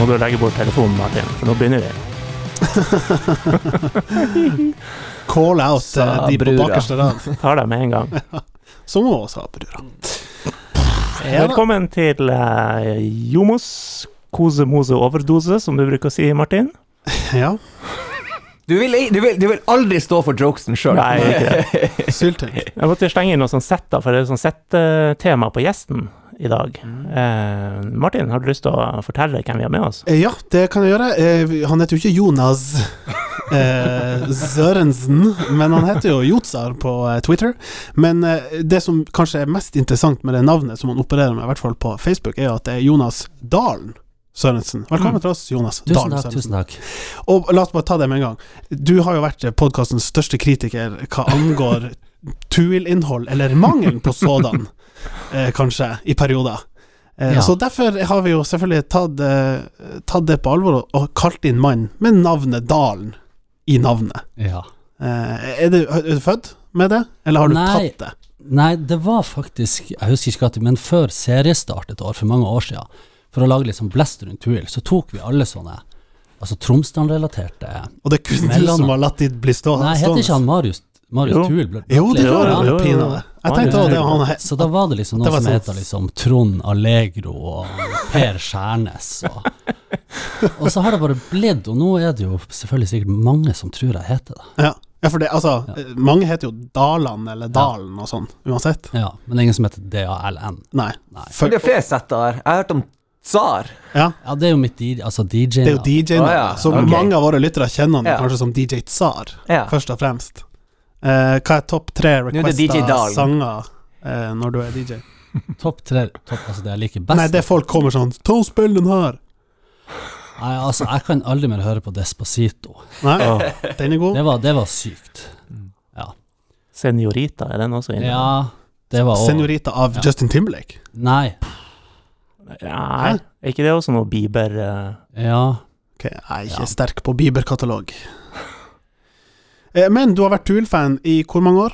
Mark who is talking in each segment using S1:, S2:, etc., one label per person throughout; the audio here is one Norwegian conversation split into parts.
S1: må du legge bort telefonen, Martin, for nå begynner vi.
S2: Call out eh,
S3: Sa
S2: de på
S3: brura.
S2: bakerste rad.
S1: Tar deg med en gang.
S2: Som hun sa, brura. Ja, da.
S1: Velkommen til eh, Jomos kosemose overdose, som du bruker å si, Martin.
S2: ja.
S3: Du vil, du, vil, du vil aldri stå for jokesen sjøl.
S1: Nei, ikke det.
S2: Sylting.
S1: Jeg måtte slenge inn noe sånn sett, da, for det er sånn sett-tema på gjesten i dag. Eh, Martin, har du lyst til å fortelle hvem vi har med oss?
S2: Eh, Ja, det kan jeg gjøre. Eh, vi- Han heter jo ikke Jonas eh, Sørensen, men han heter jo Jotsar på eh, Twitter. Men eh, det som kanskje er mest interessant med det navnet som han opererer med, i hvert fall på Facebook, er at det er Jonas Dalen Sørensen. Velkommen
S1: Mm.
S2: til oss, Jonas
S4: Tusen
S2: Dalen
S4: takk,
S2: Sørensen.
S4: tusen takk.
S2: Og la oss bare ta det med en gang. Du har jo vært podkastens største kritiker hva angår Tuil-innhold, eller mangelen på sådan, eh, kanskje, i perioder. Eh,
S4: Ja.
S2: Så derfor har vi jo selvfølgelig tatt, eh, tatt det på alvor og, og kalt inn mannen med navnet Dalen i navnet.
S4: Ja.
S2: Eh, er, du, er du født med det, eller har du
S4: Nei.
S2: tatt det?
S4: Nei, det var faktisk, jeg husker ikke at, men før seriestart et år, for mange år siden, for å lage litt sånn blest rundt Tuil, så tok vi alle sånne, altså Tromsdalen-relaterte
S2: Og det er kun du
S4: Mellom-
S2: som har latt dit bli stå- stående.
S4: Nei, heter ikke han Marius,
S1: Jo.
S4: Marius Tuil? Ble-
S2: sånn. Jo, det
S4: Ble-
S2: gjør
S4: Ja.
S2: han.
S1: jo, jo.
S2: Pinadø. Jeg
S1: Han
S2: tenkte
S1: gjør
S2: også det.
S1: det.
S2: Han,
S4: Så da var det liksom
S2: Det
S4: noen
S2: var
S4: som
S2: sånn-
S4: heter liksom Trond Allegro og Per Skjærnes og Og så har det bare blitt, og nå er det jo selvfølgelig sikkert mange som tror jeg heter det.
S2: ja. ja, for det, altså, eh, mange heter jo Dalan eller Dalen og sånn, uansett.
S4: Ja, men ingen som heter DALN.
S2: Nei.
S4: Nei.
S2: For-
S3: Det er flere setter her. Jeg har hørt om Tsar.
S2: Ja,
S4: Ja, det er jo mitt DJ, altså
S2: det er
S4: DJ-navn.
S2: jo DJ nå,
S3: Å, ja.
S2: så
S3: Ok.
S2: mange av våre lyttere kjenner han jo
S3: Ja.
S2: kanskje som DJ Tsar,
S3: Ja.
S2: først og fremst. Eh, hva er topp tre
S3: er det DJ
S2: requesta
S3: Dalen.
S2: sanger eh, når du er DJ?
S4: Topp tre topp, Altså, det jeg liker best
S2: Nei, det er folk kommer sånn Ta og spill den her!
S4: Nei, altså, jeg kan aldri mer høre på Despacito.
S2: Nei, den er god.
S4: Det var, det var sykt.
S1: Senorita, er den også inne?
S4: Ja, det var òg
S2: Senorita av Justin Timberlake.
S4: Nei.
S1: Nei, er ikke det også noe Bieber eh?
S4: Ja.
S2: Ok, jeg er ikke
S4: Ja.
S2: sterk på Bieber-katalog. Eh, men du har vært Tool-fan i hvor mange år?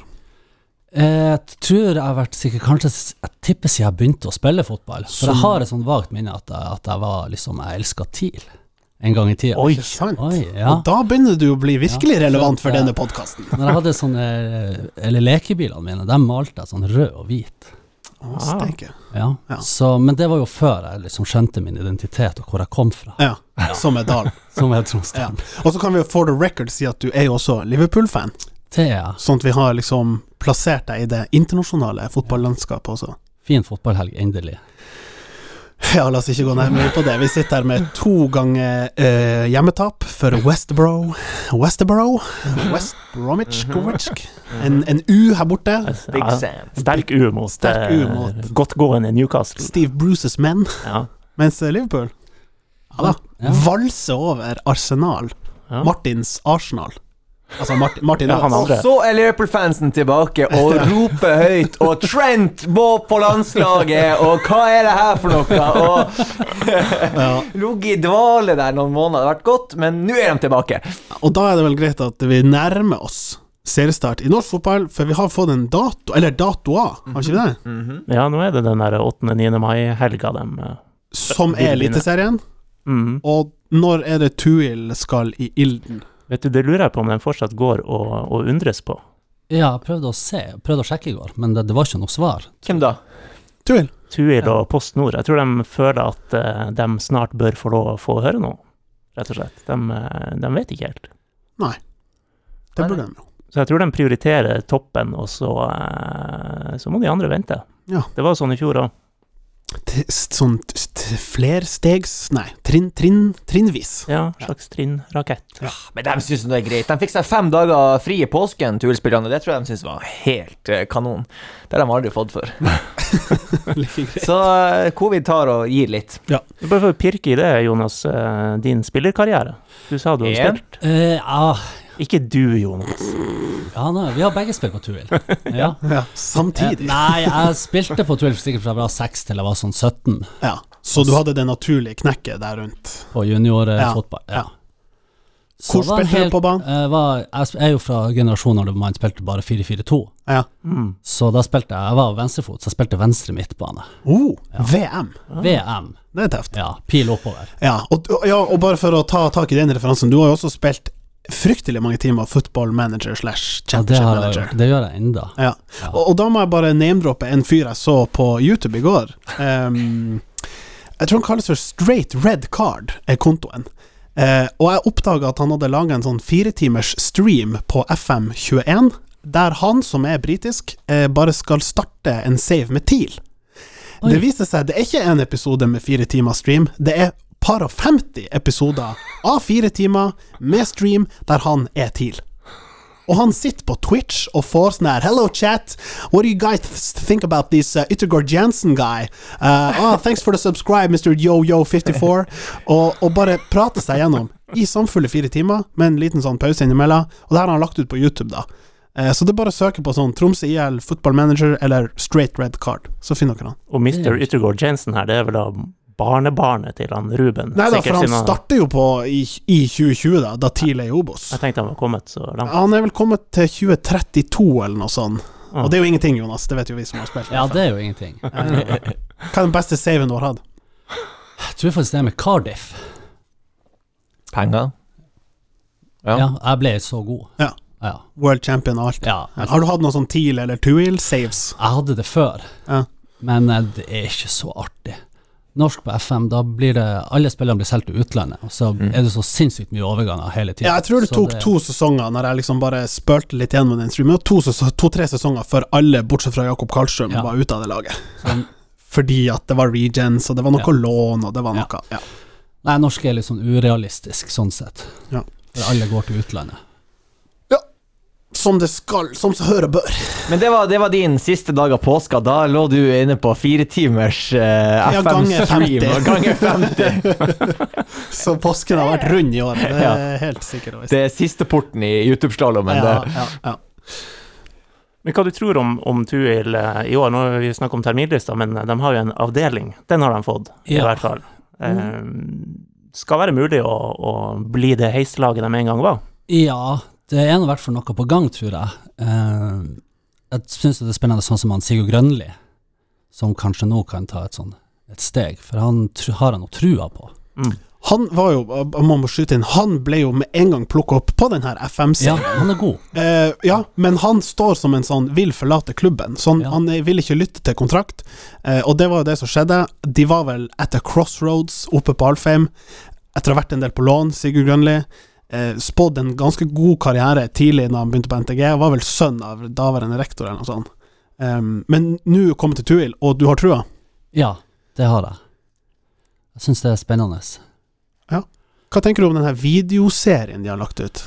S4: Eh, Jeg tror jeg har vært sikkert Kanskje s- jeg tipper siden jeg begynte å spille fotball. For jeg har et sånn vagt minne at jeg, at jeg var liksom Jeg elska TIL en gang i tida.
S1: Oi!
S2: Ikke sant?
S4: Oi, ja.
S2: Og da begynner du å bli virkelig
S4: Ja, for-
S2: relevant for
S4: ja.
S2: denne podkasten.
S4: Når jeg hadde sånne Eller lekebilene mine, de malte jeg sånn rød og hvit.
S1: Ah.
S4: Ja.
S2: Ja.
S4: Så, men det var jo før jeg liksom skjønte min identitet og hvor jeg kom fra,
S2: Ja, som er Dalen.
S4: som er Tromsdalen.
S2: Og så kan vi jo for the record si at du er jo også Liverpool-fan,
S4: Det er jeg.
S2: sånn at vi har liksom plassert deg i det internasjonale fotballandskapet også.
S4: Fin fotballhelg, endelig.
S2: Ja, la oss ikke gå nærmere på det. Vi sitter her med to ganger eh, hjemmetap for Westbro Westboro? West Bromwich Kovac. En, en U her borte.
S3: Big
S1: altså, Ja,
S3: Sam.
S1: Sterk U mot
S2: Sterk U mot-
S1: eh, godtgående Newcastle.
S2: Steve Bruces menn.
S1: Ja.
S2: Mens Liverpool Ja da.
S4: Ja.
S2: valser over Arsenal.
S1: Ja.
S2: Martins Arsenal. Altså Martin, Martin
S1: Ja, han
S2: Ødegaard.
S3: Og så er Liverpool-fansen tilbake og roper høyt, og Trent må på landslaget, og hva er det her for noe? Og Ligget i dvale der noen måneder, det har vært godt, men nå er de tilbake.
S2: Og da er det vel greit at vi nærmer oss seriestart i norsk fotball, for vi har fått en dato, eller datoer, har vi ikke det?
S1: ja, nå er det den der 8.-9. mai-helga dem eh,
S2: Som er Eliteserien.
S1: mm.
S2: Og når er det Tuil skal i ilden?
S1: Vet du, det lurer jeg på om den fortsatt går å, å undres på.
S4: Ja, jeg prøvde å se, prøvde å sjekke i går, men det, det var ikke noe svar.
S3: Hvem da?
S2: Tuil?
S1: Tuil og Post Nord, jeg tror de føler at eh, de snart bør få lov å få høre noe, rett og slett. De, eh, de vet ikke helt.
S2: Nei. Det
S3: Nei,
S2: burde de jo.
S1: Så jeg tror de prioriterer toppen, og så, eh, så må de andre vente.
S2: Ja.
S1: Det var sånn i fjor òg.
S2: T- st- Sånn t- st- flerstegs Nei, trinn, trinn, trinnvis.
S1: Ja, slags trinnrakett.
S3: Men de syns det er greit. De fikk seg fem dager fri i påsken, Tuil-spillerne. Det tror jeg de syns var helt eh, kanon. Det har de aldri fått før.
S2: Like greit.
S3: Så eh, covid tar og gir litt.
S1: Bare for å pirke i det, Jonas, eh, din spillerkarriere. Du sa du hadde
S3: Ja.
S1: spilt.
S4: Eh, ja,
S1: Ikke du, Jonas.
S4: ja nei, vi har begge spilt på Tuil. Ja.
S2: Ja,
S4: Eh,
S2: samtidig.
S4: nei, jeg spilte på Tuil sikkert fra jeg var 6 til jeg var sånn 17,
S2: Ja. Så du hadde det naturlige knekket der rundt.
S4: på juniorfotball.
S2: Ja,
S4: Ja.
S2: ja.
S4: så
S2: Hvor
S4: var det
S2: spilte du
S4: helt-
S2: på banen?
S4: Jeg, var, jeg sp- jeg er jo fra generasjonen der man spilte bare 4-4-2.
S2: Ja.
S1: Mm.
S4: Så da spilte jeg Jeg var venstrefot, så jeg spilte venstre midtbane.
S2: Oh, VM.
S4: Ah. VM.
S2: Det er tøft.
S4: Ja, pil oppover.
S2: Ja og, og- ja, og bare for å ta tak i den referansen, du har jo også spilt fryktelig mange timer football manager slash
S4: Ja, det,
S2: championship
S4: har jeg,
S2: manager.
S4: gjort. det gjør jeg enda
S2: Ja. Og, og da må jeg bare name-droppe en fyr jeg så på YouTube i går. Ehm, jeg tror han kalles for Straight Red Card, er kontoen. Eh, og jeg oppdaga at han hadde laga en sånn firetimers stream på FM21, der han, som er britisk, eh, bare skal starte en save med TIL.
S4: Oi.
S2: Det viser seg det er ikke én episode med fire timer stream, det er par og 50 episoder av fire timer med stream der han er TIL. Og han sitter på Twitch og får sånn her Hello chat, what do you guys think about this uh, Yttergård Jansen guy? Uh, oh, thanks for the subscribe, Mr. YoYo54. Og, og bare prater seg gjennom i samfulle fire timer, med en liten sånn pause innimellom. Og det her har han lagt ut på YouTube, da. Eh, Så det er bare å søke på sånn Tromsø IL Football Manager eller Straight Red Card, så finner dere han.
S1: Og Mr. Yttergård Jensen her, det er vel da barnebarnet til han Ruben?
S2: Nei da,
S1: Sikkert
S2: for han
S1: siden
S2: starter jo på i, i 2020, da, da TIL er i Obos.
S1: Jeg tenkte han var kommet så langt.
S2: Han er vel kommet til 2032 eller noe sånt. Og det er jo ingenting, Jonas. Det vet jo vi som har spilt.
S4: Ja, det er jo ingenting.
S2: Ja. Hva er den beste saven du har hatt?
S4: Jeg tror faktisk det er med Cardiff.
S3: Penger? Ja.
S4: Ja. jeg ble så god.
S2: Ja.
S4: ja.
S2: World champion og alt.
S4: Ja,
S2: Ja. Har du hatt noe sånn TIL eller Tuil saves?
S4: Jeg hadde det før,
S2: Ja.
S4: men eh, det er ikke så artig. Norsk på FM, da blir det Alle spillerne blir solgt til utlandet, og så er det så sinnssykt mye overganger hele tiden.
S2: Ja, jeg tror det
S4: Så
S2: tok to sesonger når jeg liksom bare spølte litt gjennom den streamen. Og to-tre sesonger før alle, bortsett fra Jakob Karlstrøm,
S4: Ja.
S2: var ute av det laget.
S4: Sånn.
S2: Fordi at det var regens, og det var noe lån, og det var noe ja.
S4: Nei, norsk er litt sånn urealistisk sånn sett.
S2: Ja.
S4: For alle går til utlandet.
S2: Som det skal, som så hører bør.
S3: Men det var, det var din siste dag av påska. Da lå du inne på fire timers eh,
S2: Ja, ganger
S3: FM-stream.
S2: 50.
S3: og Ganger 50.
S2: Så påsken har vært rund i år, det er helt sikkert. og visst.
S3: Det er siste porten i YouTube-stallen, men
S2: ja,
S3: det
S2: ja, ja.
S1: Men hva du tror om, om Tuil eh, i år? Nå har vi snakket om terminlista, men eh, de har jo en avdeling. Den har de fått, i
S4: Ja.
S1: hvert fall. Eh, skal være mulig å, å bli det heislaget de en gang var.
S4: Ja, det er nå i hvert fall noe på gang, tror jeg. Eh, jeg syns det er spennende sånn som han Sigurd Grønli, som kanskje nå kan ta et sånn et steg, for han tr- har han noe trua på.
S2: Han var jo, man må skyte inn, han ble jo med en gang plukka opp på den her FMC.
S4: Ja, han er god.
S2: Eh, ja, men han står som en sånn vil forlate klubben. Så han,
S4: Ja.
S2: han eh, vil ikke lytte til kontrakt, eh, og det var jo det som skjedde. De var vel etter crossroads oppe på Alfheim, etter å ha vært en del på lån, Sigurd Grønli. Eh, spådd en ganske god karriere tidlig da han begynte på NTG, og var vel sønn av daværende rektor eller noe sånt. Ehm, men nå kommer til Tuil, og du har trua?
S4: Ja, det har jeg. Jeg syns det er spennende.
S2: Hva tenker du om denne videoserien de har lagt ut?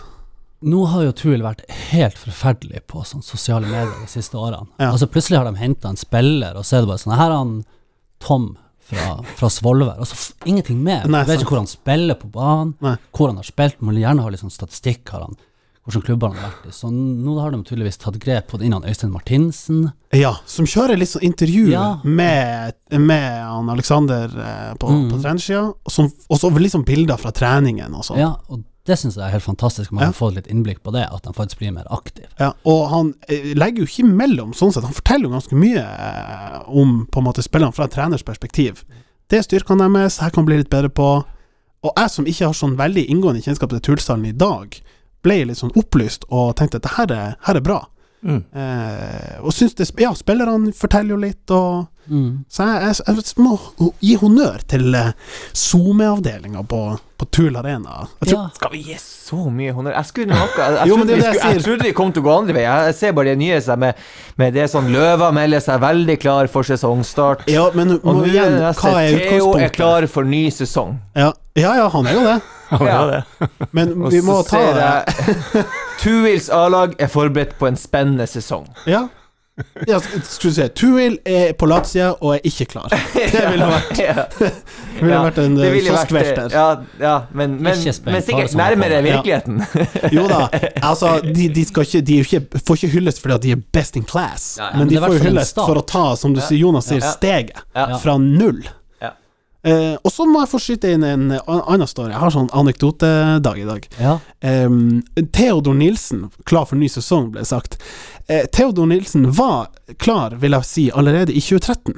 S4: Nå har jo Tuil vært helt forferdelig på sånn sosiale medier de siste årene.
S2: Ja.
S4: Altså Plutselig har de henta en spiller, og så er det bare sånn Her er han Tom fra, fra Svolvær, og så f ingenting mer.
S2: Nei,
S4: du vet
S2: sant.
S4: ikke hvor han spiller på banen,
S2: Nei.
S4: hvor han har spilt, må gjerne ha litt sånn statistikk, har han hvilke klubber han har vært i. Så nå har de tydeligvis tatt grep på det innan Øystein Martinsen.
S2: Ja, som kjører litt sånn intervju
S4: Ja.
S2: med, med han Aleksander eh, på, på trenersida, og som- og så liksom bilder fra treningen og sånn. Ja.
S4: Ja, og det syns jeg er helt fantastisk, man
S2: Ja.
S4: kan få litt innblikk på det, at han faktisk blir mer aktiv.
S2: og han eh, legger jo ikke imellom sånn sett, han forteller jo ganske mye eh, om på en måte spillerne fra et treners perspektiv. Det er styrkene deres, her kan bli litt bedre på. Og jeg som ikke har sånn veldig inngående kjennskap til Tulsdalen i dag, ble litt sånn opplyst og tenkte at det her er, her er bra.
S1: Mm.
S2: Eh, og syns det Ja, spillerne forteller jo litt, og
S4: Mm.
S2: Så jeg, jeg, jeg må ho- gi honnør til SoMe-avdelinga på, på Tool Arena. Jeg tror,
S4: Ja.
S3: Skal vi gi så mye honnør? Jeg skulle noe Jeg, jeg,
S2: Jo, men
S3: trodde,
S2: det er det
S3: vi
S2: jeg
S3: skulle, jeg
S2: sier.
S3: trodde vi kom til å gå andre vei. Jeg, jeg ser bare det nye seg med, med det som Løva melder seg veldig klar for sesongstart.
S2: ja, men
S3: Og
S2: må
S3: nå er
S2: igjen,
S3: det
S2: hva
S3: neste.
S2: er
S3: Theo er
S2: utgangspunktet?
S3: klar for ny sesong.
S2: Ja, ja, ja, han er jo det,
S1: Ja, det.
S2: men
S3: Og
S2: vi må
S3: så
S2: ta
S3: ser
S2: det.
S3: jeg Tuils A-lag er forberedt på en spennende sesong.
S2: Ja. Ja, skal vi se. Tuil er på latsida og er ikke klar. Det ville vært,
S3: Ja.
S2: ville
S3: Ja,
S2: vært en
S3: det
S2: eh,
S3: ville vært-
S2: kioskvelter.
S3: Ja, ja, men, men,
S4: Ikke spent,
S3: men
S4: bare
S3: sikkert
S4: sånn at
S3: nærmere
S4: han-
S2: Ja.
S3: virkeligheten.
S2: Jo da, altså, de, de, skal ikke, de er jo ikke, får ikke hyllest fordi at de er best in class,
S3: Ja, ja,
S2: men
S4: men det
S2: de
S4: er
S2: får jo
S4: hvertfall en
S2: hyllest
S4: start.
S2: for å ta, som du sier, Jonas sier,
S3: Ja.
S2: steget
S3: Ja.
S2: fra null.
S3: Ja.
S2: Eh, og så må jeg få skyte inn en an- annen story. Jeg har sånn anekdotedag i dag.
S4: Ja.
S2: Em, Ehm, Theodor Nilsen, klar for ny sesong, ble sagt. Eh, Theodor Nilsen var klar, vil jeg si, allerede i 2013.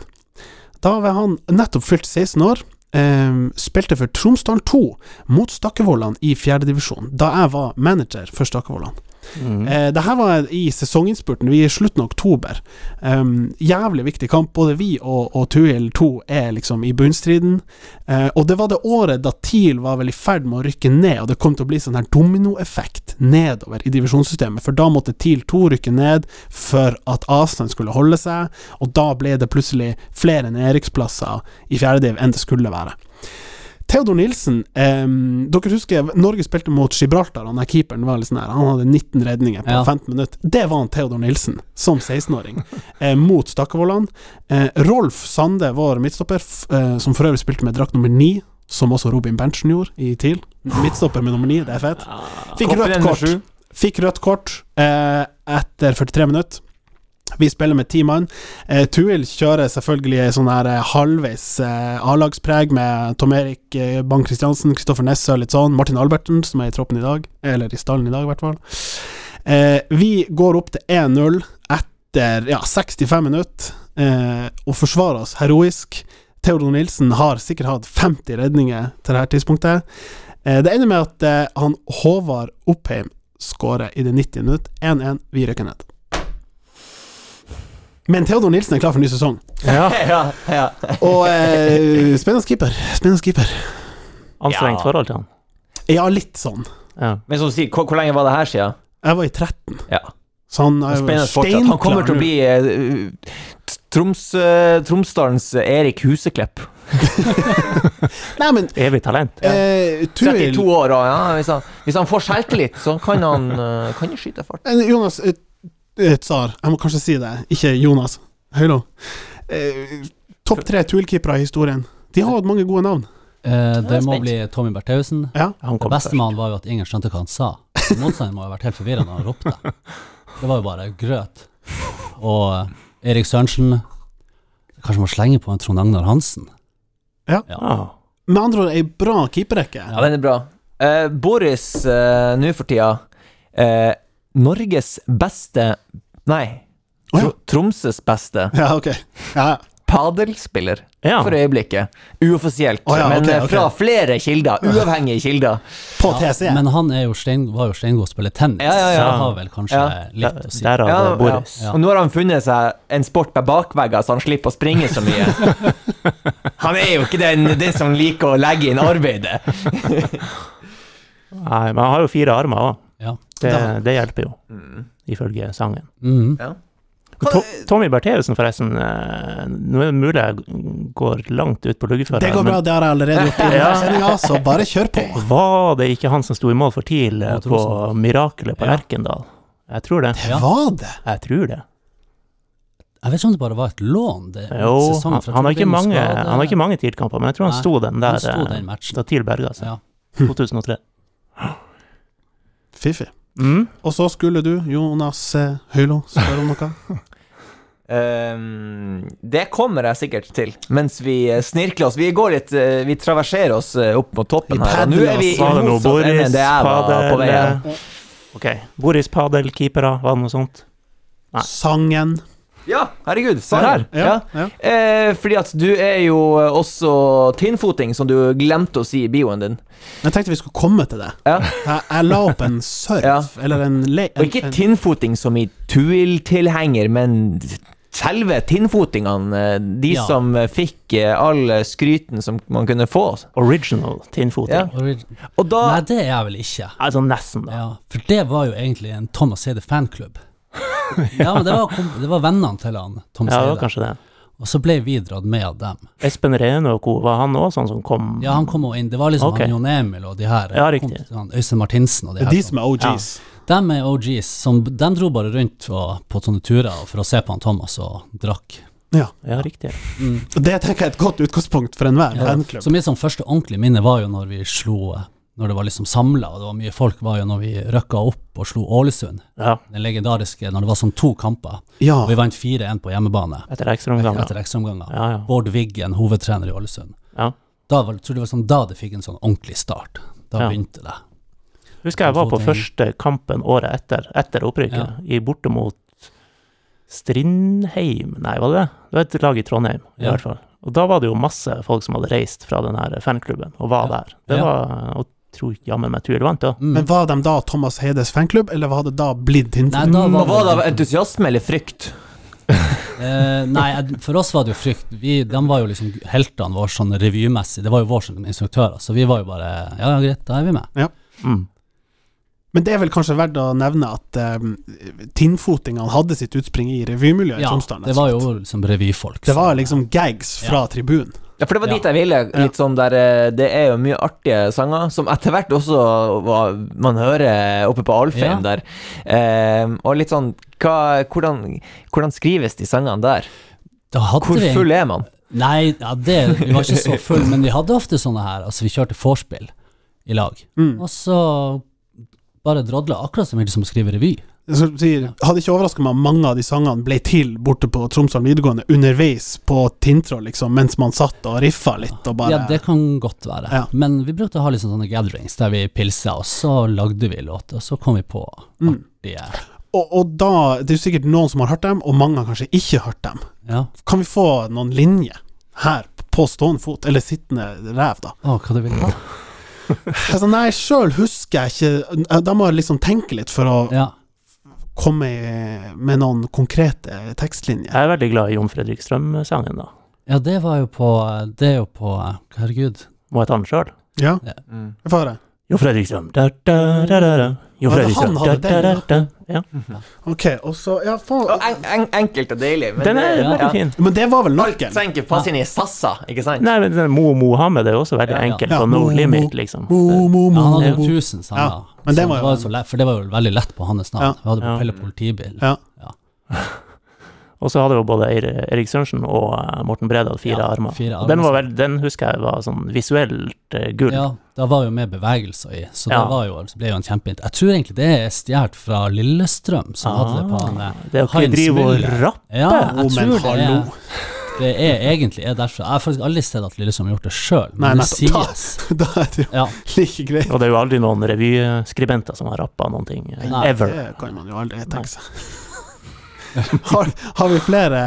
S2: Da var han nettopp fylt 16 år. em, spilte for Tromsdalen 2 mot Stakkevollan i fjerdedivisjon, da jeg var manager for Stakkevollan.
S1: Mm.
S2: Eh, det her var i sesonginnspurten, vi er i slutten av oktober. Um, jævlig viktig kamp. Både vi og, og Tuil 2 er liksom i bunnstriden. Eh, og det var det året da TIL var vel i ferd med å rykke ned, og det kom til å bli sånn her dominoeffekt nedover i divisjonssystemet, for da måtte TIL 2 rykke ned for at avstand skulle holde seg, og da ble det plutselig flere nedrykksplasser i fjerdediv enn det skulle være. Theodor Nilsen em, Dere husker Norge spilte mot Gibraltar, han der keeperen var litt sånn her, han hadde 19 redninger på
S4: Ja.
S2: 15 minutter. Det var han Theodor Nilsen, som 16-åring, eh, mot Stakkevollan. Eh, Rolf Sande, vår midtstopper, f eh, som for øvrig spilte med drakt nummer 9, som også Robin Berntsen gjorde i TIL. Midtstopper med nummer 9, det er fett. Fikk
S3: Kopper
S2: rødt
S3: en med
S2: kort.
S3: sju.
S2: Fikk rødt kort eh, etter 43 minutter. Vi spiller med ti mann. Eh, Tuil kjører selvfølgelig en sånn her eh, halvveis eh, A-lagspreg med Tom Erik eh, Bang Christiansen, Kristoffer Nesse og litt sånn. Martin Alberten, som er i troppen i dag, eller i stallen i dag, i hvert fall. Eh, vi går opp til 1-0 etter ja, 65 minutter, eh, og forsvarer oss heroisk. Theodor Nilsen har sikkert hatt 50 redninger til dette tidspunktet. Eh, det ender med at eh, han Håvard Oppheim skårer i det 90 minutt. 1-1, vi rykker ned. Men Theodor Nilsen er klar for ny sesong.
S1: Ja,
S3: Ja, ja.
S2: Og eh, spennende keeper. Spennende keeper.
S1: anstrengt
S3: Ja.
S1: forhold til han.
S2: Ja, litt sånn.
S1: Ja.
S3: Men som du sier, hvor, hvor lenge var det her siden?
S2: Jeg var i 13,
S3: Ja.
S2: så han er jo
S3: Spennende fortsatt.
S2: steinklar.
S3: Han kommer til å
S2: nå.
S3: bli eh, t- Troms, eh, Tromsdalens Erik Huseklepp.
S2: Nei, men
S1: Evig talent.
S2: eh, Tuil
S3: 32 år, og ja, hvis, han, hvis han får selvtillit, så kan han eh, kan han skyte fart.
S2: Eh, Jonas eh, eh, Tsar, jeg må kanskje si det. Ikke Jonas. Høylo. Eh, Topp tre Tuil-keepere i historien. De har hatt mange gode navn.
S4: Eh,
S3: Jeg
S4: det
S3: er
S4: må
S3: spent.
S4: bli Tommy Bertheussen.
S1: Han
S4: Det
S1: kom
S4: beste med han var jo at ingen skjønte hva han sa. Motstanderen må ha vært helt forvirra når han ropte. Det var jo bare grøt. Og eh, Erik Sørensen Kanskje må slenge på en Trond Agnar Hansen.
S1: Ah.
S2: Med andre ord ei bra keeperrekke.
S3: Ja, den er bra. Eh, Boris eh, nå for tida eh, Norges beste Nei,
S2: Å, ja.
S3: Tro- Tromsøs beste
S2: Ja, ok. Ja, ja.
S3: padelspiller
S1: Ja.
S3: for øyeblikket. Uoffisielt,
S2: Å, ja,
S3: men
S2: ok,
S3: eh,
S2: ok.
S3: fra flere kilder. Uavhengige kilder.
S2: På
S4: Ja,
S2: TC.
S4: men han er jo stein, var jo steingod til å spille tennis,
S3: Ja, ja,
S4: så
S1: ja.
S4: han har vel kanskje
S3: Ja.
S4: litt å si.
S1: Derav
S3: Ja,
S1: eh, Boris.
S4: ja.
S3: Og nå har han funnet seg en sport med bakvegger, så han slipper å springe så mye. Han er jo ikke den, den som liker å legge inn arbeidet.
S1: Nei, men han har jo fire armer òg.
S4: Ja.
S1: Det,
S2: Da.
S1: det hjelper jo,
S3: Mm.
S1: ifølge sangen.
S4: Mhm.
S3: Hva-
S1: To Tommy Bertheussen, forresten. eh, Nå er det mulig jeg går langt ut på luggeføreren.
S2: Det går bra, det har jeg allerede gjort i denne
S1: Ja.
S2: sendinga, så bare kjør på.
S1: men var det ikke han som sto i mål for TIL eh,
S4: Mot
S1: på
S4: Rosenborg.
S1: Mirakelet på
S4: sånn. Ja.
S1: Erkendal? Jeg tror det.
S4: Ja.
S2: Var det?
S1: Jeg tror det.
S4: Jeg vet ikke om det bare var et lån. Det,
S1: Jo, han,
S4: for jeg tror
S1: han, har
S4: det ble
S1: ikke
S4: noe
S1: mange,
S4: skade.
S1: han har ikke mange TIL-kamper, men jeg tror han
S4: Nei,
S1: sto den der
S4: Han sto
S1: eh,
S4: den matchen.
S1: da TIL berga seg.
S4: Ja.
S1: 2003.
S2: Fiffig.
S1: Mm.
S2: Og så skulle du, Jonas eh, Høylo, spørre om noe?
S3: Ehm, det kommer jeg sikkert til, mens vi eh, snirkler oss. Vi går litt eh, Vi traverserer oss eh, opp mot toppen
S2: Vi
S3: her. Og nå er vi i
S1: Var det noe
S3: motsatt ende enn
S1: Boris
S3: det jeg var på vei her.
S1: Padel eh, Ok. Boris Padel, keepere, var det noe sånt? Nei.
S2: Sangen.
S3: Ja, herregud. Se
S1: Der.
S3: her. Ja.
S2: Ja, ja.
S3: Eh, fordi at du er jo eh, også tinnfoting, som du glemte å si i bioen din.
S2: Jeg tenkte vi skulle komme til det.
S3: Ja.
S2: Jeg, jeg la opp en surf,
S3: Ja.
S2: eller en le...
S3: Og ikke
S2: en-
S3: tinnfoting som i Tuil-tilhenger, men selve tinnfotingene. eh, De
S4: Ja.
S3: som eh, fikk eh, all skryten som man kunne få.
S1: Original tinnfoting.
S3: Ja.
S4: Origi-
S3: Og da
S4: Nei, det er jeg vel ikke.
S1: Altså nesten, da.
S4: Ja, for det var jo egentlig en Thomas Heide fanklubb. Ja, men det var, kom, det var vennene til han
S1: Ja,
S4: Thomas
S1: det var
S4: Heide,
S1: kanskje det.
S4: og så ble vi dratt med av dem.
S1: Espen Rene og co., var han òg sånn som kom?
S4: Ja, han kom jo inn, Det var liksom
S1: Ok.
S4: han Jon Emil og de her.
S1: Ja,
S4: kom
S1: riktig.
S4: til Han, Øystein Martinsen og de
S2: Det
S4: her.
S2: er de som er OGs.
S4: De er OGs. Som, de dro bare rundt og, på sånne turer for å se på han Thomas og drakk.
S1: Ja, riktig.
S4: Mm.
S2: Og Det tenker jeg er et godt utgangspunkt for enhver
S4: Ja.
S2: fanklubb.
S4: Så mitt sånn første ordentlige minne var jo når vi slo eh, Når det var liksom samla, og det var mye folk, var jo når vi røkka opp og slo Ålesund.
S1: Ja,
S4: Den legendariske når det var sånn to kamper,
S2: Ja.
S4: og vi vant 4-1 på hjemmebane
S1: etter ekstraomganger.
S4: etter ekstraomganger.
S1: Ja, ja.
S4: Bård Wiggen, hovedtrener i Ålesund.
S1: Ja.
S4: Da var, tror jeg det var sånn, da det fikk en sånn ordentlig start. Da
S1: Ja.
S4: begynte det.
S1: Husker jeg var på
S4: Lofoten.
S1: første kampen året etter, etter opprykket, i borte mot Strindheim, nei, var det det? Det var et lag i Trondheim, i
S4: Ja.
S1: hvert fall. Og da var det jo masse folk som hadde reist fra den her fanklubben, og var
S4: Ja.
S1: der. Det
S4: Ja.
S1: var, og tror jammen meg Tuel vant, da.
S4: Mm.
S2: Men var de da Thomas Heides fanklubb, eller hadde det da blitt din
S4: Nei, da
S3: Og
S4: var
S3: Var det av entusiasme eller frykt?
S4: Eh, nei, jeg- for oss var det jo frykt. Vi, de var jo liksom heltene våre sånn revymessig. Det var jo våre som instruktører, så vi var jo bare Ja, ja, greit, da er vi med.
S1: Mm.
S2: Men det er vel kanskje verdt å nevne at eh, tinnfotingene hadde sitt utspring i revymiljøet i
S4: Ja,
S2: Tromsdalen.
S4: det var jo liksom revyfolk.
S2: Det var
S4: som-
S2: liksom gags fra tribunen.
S3: Ja, for det var
S4: Ja.
S3: dit jeg ville. Litt sånn der eh, Det er jo mye artige sanger, som etter hvert også var, man hører oppe på Alfheim
S4: Ja.
S3: der. Eh, og litt sånn hva, hvordan, hvordan skrives de sangene der?
S4: Da hadde
S3: Hvor
S4: vi-
S3: full er man?
S4: Nei, ja, det, vi var ikke så full, men vi hadde ofte sånne her. Altså, vi kjørte vorspiel i lag,
S2: Mm.
S4: og så bare drodla, akkurat som vi liksom skriver revy.
S2: Så sier, hadde ikke overraska meg om mange av de sangene ble til borte på Tromsdalen videregående underveis på Tintroll, liksom, mens man satt og riffa litt og bare
S4: Ja, det kan godt være.
S2: Ja.
S4: Men vi brukte å ha liksom sånne gatherings der vi pilsa, og så lagde vi låter, og så kom vi på
S2: Mm.
S4: artige
S2: og, og da Det er jo sikkert noen som har hørt dem, og mange har kanskje ikke hørt dem.
S4: Ja.
S2: Kan vi få noen linjer her, på stående fot, eller sittende ræv, da?
S4: Å, hva du ville ha?
S2: Altså, nei, sjøl husker jeg ikke Da må jeg liksom tenke litt for å
S4: Ja.
S2: komme i- med noen konkrete tekstlinjer.
S1: Jeg er veldig glad i Jon Fredrik Strøm-sangen, da.
S4: Ja, det var jo på Det er jo på Herregud.
S1: Må jeg ta den sjøl?
S2: Ja,
S3: Mm.
S2: jeg får høre.
S1: Jon Fredrik Strøm da, da, da, da, da. Jon
S2: Ja, det-
S1: Fredrik Strøm
S2: han hadde
S1: da, da,
S2: den,
S1: da, da. Ja.
S2: Ok, og så Ja,
S3: Og
S2: faen.
S3: en, en, enkelt og deilig. Men
S1: Den er
S3: det-
S1: veldig
S3: ja.
S1: fin.
S2: Men det var vel
S3: Alt
S2: nøkkelen?
S3: trenger ikke passe inn i sassa, ikke sant?
S1: Nei, men den Mo Mohammed er jo også veldig
S4: Ja, ja.
S1: enkel,
S2: Ja,
S1: på no
S2: Mo-
S1: limit,
S2: Mo-
S1: liksom.
S2: Mo, mo,
S4: Ja,
S2: mo,
S4: han hadde
S2: mo.
S4: jo tusen sanger.
S2: men det
S4: så
S2: var jo-
S4: så lett, for det var jo veldig lett på hans navn.
S2: Ja.
S4: Vi hadde på
S1: Ja.
S4: Pelle politibil.
S2: Ja.
S1: Og så hadde jo både Eir- Erik Sørensen og eh, Morten Brede hadde fire
S4: Ja,
S1: armer.
S4: fire
S1: Og den, var
S4: armer.
S1: vel, den husker jeg var sånn visuelt eh, gull.
S4: Ja, det var jo med bevegelser i, så det
S1: Ja.
S4: var jo, det ble jo en kjempeint. Jeg tror egentlig det er stjålet fra Lillestrøm, som
S1: Ah.
S4: hadde det på han eh,
S1: det er jo ikke
S4: Heinz
S1: drive og
S4: Müller.
S1: rapp.
S4: Ja, jeg
S2: Jo, men
S4: tror det
S2: hallo.
S4: er, det er egentlig er derfra. Jeg har faktisk aldri sett at Lillestrøm har gjort det sjøl,
S2: Nei,
S4: men det
S2: nettopp. Da-
S4: sies.
S2: Da er det
S4: Ja,
S2: jo like greit.
S1: Og det er jo aldri noen revyskribenter som har rappa noen ting. eh,
S4: Nei,
S1: ever.
S2: Det kan man jo aldri tenke seg. Har, har vi flere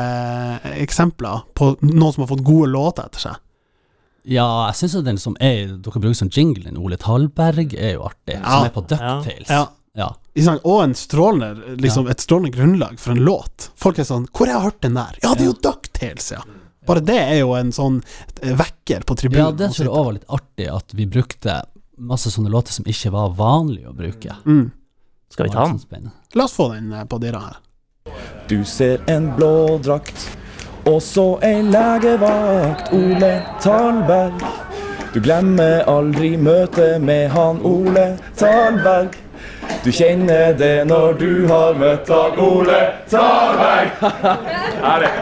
S2: eh, eksempler på noen som har fått gode låter etter seg?
S4: ja jeg syns jo den som er Dere bruker som jingle, den Ole Talberg, er jo artig.
S2: Ja.
S4: Som er på Ducktails.
S2: Ja.
S4: ja.
S2: Ikke sant? sånn, Og en strålende, liksom, et strålende grunnlag for en låt. Folk er sånn 'Hvor har jeg hørt den der?' Ja, det er jo Ducktails, ja! Bare det er jo en sånn eh, vekker på tribunen.
S4: Ja, det tror jeg òg var litt artig, at vi brukte masse sånne låter som ikke var vanlig å bruke.
S2: Mm.
S1: Skal vi ta den?
S4: den?
S2: La oss få den eh, på dyra her.
S5: Du ser en blå drakt og så ei legevakt, Ole Talberg. Du glemmer aldri møtet med han Ole Talberg. Du kjenner det når du har møtt han Ole Talberg.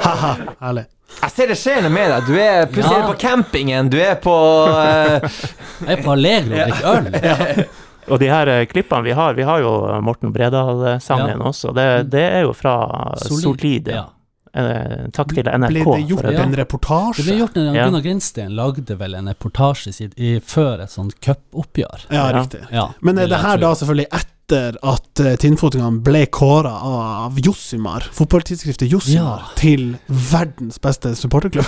S2: Haha, herlig.
S3: Jeg ser det skjer noe med deg. Du er plutselig
S4: Ja.
S3: på campingen, du er på eh,
S4: Jeg er på Allegro og drikker øl.
S1: Og de her eh, klippene vi har, vi har jo eh, Morten Bredal-sangen også. Det, det er jo fra Solid.
S4: Ja.
S1: Eh, takk til
S2: Ble
S1: NRK.
S2: det gjort
S1: for det.
S2: en
S4: Det ble
S2: reportasje?
S4: gjort når
S1: Ja.
S4: Gunnar Grindsten lagde vel en reportasje sitt i, før et sånt cupoppgjør.
S1: Ja.
S2: Ja, riktig.
S4: Ja,
S2: Men er
S4: vil
S2: det
S4: jeg
S2: her
S4: tro.
S2: da selvfølgelig etter at eh, tinnfotingene ble kåra av Jossimar, fotballtidsskriftet Jossimar,
S4: Ja.
S2: til verdens beste supporterklubb?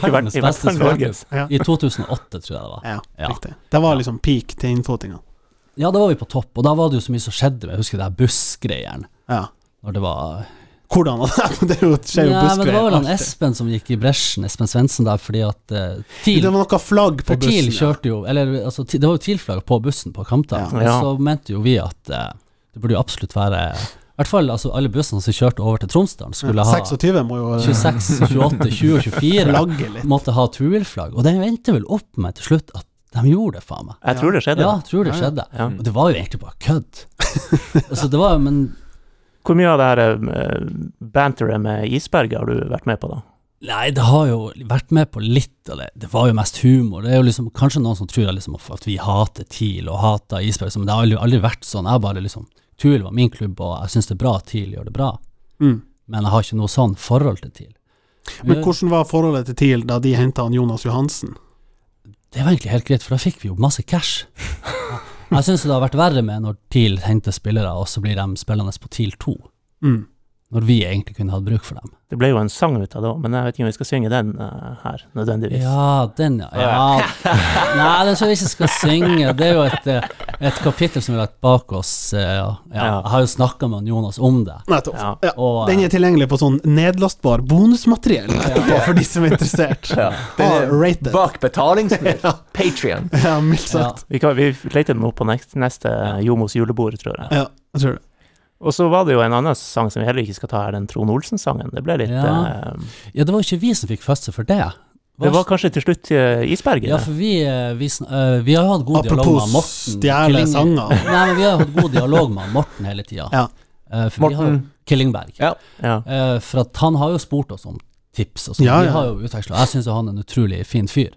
S4: Verdens
S1: I hvert
S4: beste
S1: fall Norge.
S4: språk.
S2: Ja.
S4: I 2008, tror jeg det var.
S2: Ja,
S4: Ja.
S2: riktig. Det var liksom peak tinnfotinga.
S4: Ja, da var vi på topp, og da var det jo så mye som skjedde. Jeg husker det her bussgreiene.
S2: Ja.
S4: Når det var
S2: Hvordan? det er jo- skjer jo
S4: Ja, men det var
S2: buskgreier
S4: vel han
S2: alltid.
S4: Espen som gikk i bresjen, Espen Svendsen der, fordi at eh, TIL
S2: Det var noe flagg på
S4: For TIL
S2: bussen. ja.
S4: kjørte jo Eller altså, T- det var jo TIL-flagg på bussen på Kampdag,
S1: Ja.
S4: og
S1: Ja.
S4: så mente jo vi at eh, det burde jo absolutt være I hvert fall altså, alle bussene som kjørte over til Tromsdalen, skulle ha
S2: 26 må jo eh,
S4: 26, 28, 20 og 24.
S2: flagge litt.
S4: Måtte ha Tuil-flagg. Og den endte vel opp med til slutt at de gjorde det, faen meg.
S1: Jeg tror det skjedde.
S4: Ja, jeg tror det
S2: Ja, ja.
S4: skjedde.
S1: Ja.
S4: Og det var jo egentlig bare kødd. altså, det var jo, men
S1: Hvor mye av det her eh, banteret med Isberget har du vært med på, da?
S4: Nei, det har jo vært med på litt av det. Det var jo mest humor. Det er jo liksom kanskje noen som tror at liksom at vi hater TIL og hater Isberg, men det har aldri, aldri vært sånn. Jeg bare liksom TIL var min klubb, og jeg syns det er bra at TIL gjør det bra,
S2: Mm.
S4: men jeg har ikke noe sånn forhold til TIL.
S2: Men hvordan var forholdet til TIL da de henta Jonas Johansen?
S4: Det var egentlig helt greit, for da fikk vi jo masse cash. Jeg syns det har vært verre med når TIL henter spillere, og så blir de spillende på TIL 2,
S2: Mm.
S4: når vi egentlig kunne hatt bruk for dem.
S1: Det ble jo en sang ut av det òg, men jeg vet ikke om vi skal synge den eh, her, nødvendigvis.
S4: Ja, den, ja. ja. Nei, den som vi ikke skal synge, det er jo et, eh, et kapittel som vi har lagt bak oss. eh, Ja. Ja.
S1: Ja.
S4: Jeg har jo snakka med Jonas om det.
S2: Nettopp.
S1: Ja.
S2: Ja.
S4: Og,
S2: Den
S4: eh,
S2: er tilgjengelig på sånn nedlastbar bonusmateriell etterpå, for de som er interessert.
S3: Ja. Ah,
S2: R-rated.
S3: bak betalingsmur.
S2: Ja.
S3: Patrion.
S2: Ja, mildt
S4: ja.
S2: sagt.
S1: Vi, kan, vi leter den opp på neste, neste Jomos julebord, tror jeg.
S2: Ja, jeg tror det.
S1: Og så var det jo en annen sang som vi heller ikke skal ta her, den Trond Olsen-sangen. Det ble litt
S4: Ja.
S1: eh,
S4: ja, det var jo ikke vi som fikk fødsel for det.
S1: Det var kanskje til slutt eh, isberget.
S4: Ja, for vi, eh, vi, sn- eh, vi har jo hatt god dialog med
S2: Apropos
S4: Morten.
S2: stjele
S4: Killing-
S2: sanger.
S4: Nei, men vi har jo hatt god dialog med Morten hele tida.
S2: Ja.
S4: for Morten. Vi har jo
S3: Morten.
S4: Killingberg.
S3: Ja.
S1: ja.
S4: Eh, for at han har jo spurt oss om tips, og sånn.
S2: Ja, ja.
S4: Vi har jo utveksla. Jeg syns han er en utrolig fin fyr.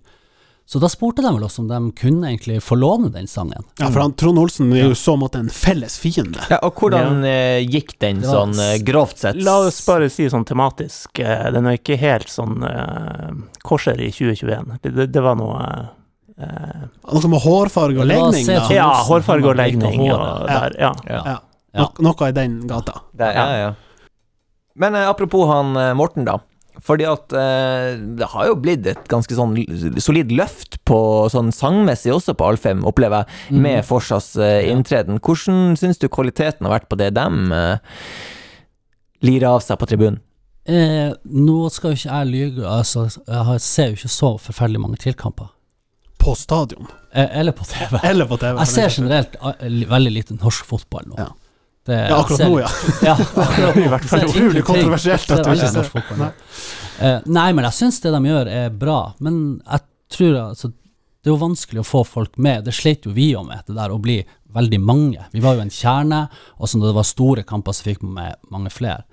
S4: Så da spurte de vel oss om de kunne egentlig få låne den sangen.
S2: Ja, for han, Trond Olsen er jo i så måte en felles fiende.
S3: Ja, og hvordan eh, gikk den
S4: Det var-
S3: sånn eh, grovt sett?
S1: La oss bare si sånn tematisk, eh, den er ikke helt sånn uh, korser i 2021. Det, det, det var noe eh, eh,
S2: Noe med hårfarge og
S4: Det var
S2: legning, da.
S4: Trond
S1: Ja,
S4: Olsen,
S1: hårfarge og
S4: han har likt
S1: legning
S4: håret.
S1: og der, ja.
S3: Ja.
S2: Ja.
S4: Ja.
S2: Nok- noe i den gata.
S3: Det, ja, ja. Men eh, apropos han eh, Morten, da. Fordi at eh, det har jo blitt et ganske sånn l- solid løft på sånn sangmessig også på Alfheim, opplever jeg, Mm. med Forsas eh, inntreden. Hvordan syns du kvaliteten har vært på det dem eh, lirer av seg på tribunen?
S4: Eh, nå skal jo ikke jeg lyge, altså, jeg har- ser jo ikke så forferdelig mange tilkamper.
S2: På stadion.
S4: Eh, eller på TV.
S2: Eller på TV. for
S4: Jeg ser
S2: den saks skyld.
S4: generelt eh, li- veldig lite norsk fotball nå.
S2: Ja.
S4: Det,
S2: Ja, akkurat nå, ja.
S4: Ja, akkurat nå. Så det er
S2: Utrolig
S4: ingenting.
S2: kontroversielt at
S4: Det er
S2: du ikke
S4: veldig
S2: ser.
S4: norsk fotball nå. Eh, Nei, men jeg syns det de gjør er bra. Men jeg tror altså, det er jo vanskelig å få folk med. Det slet jo vi jo med, det der å bli veldig mange. Vi var jo en kjerne, og så når det var store kamper, så fikk man med mange flere.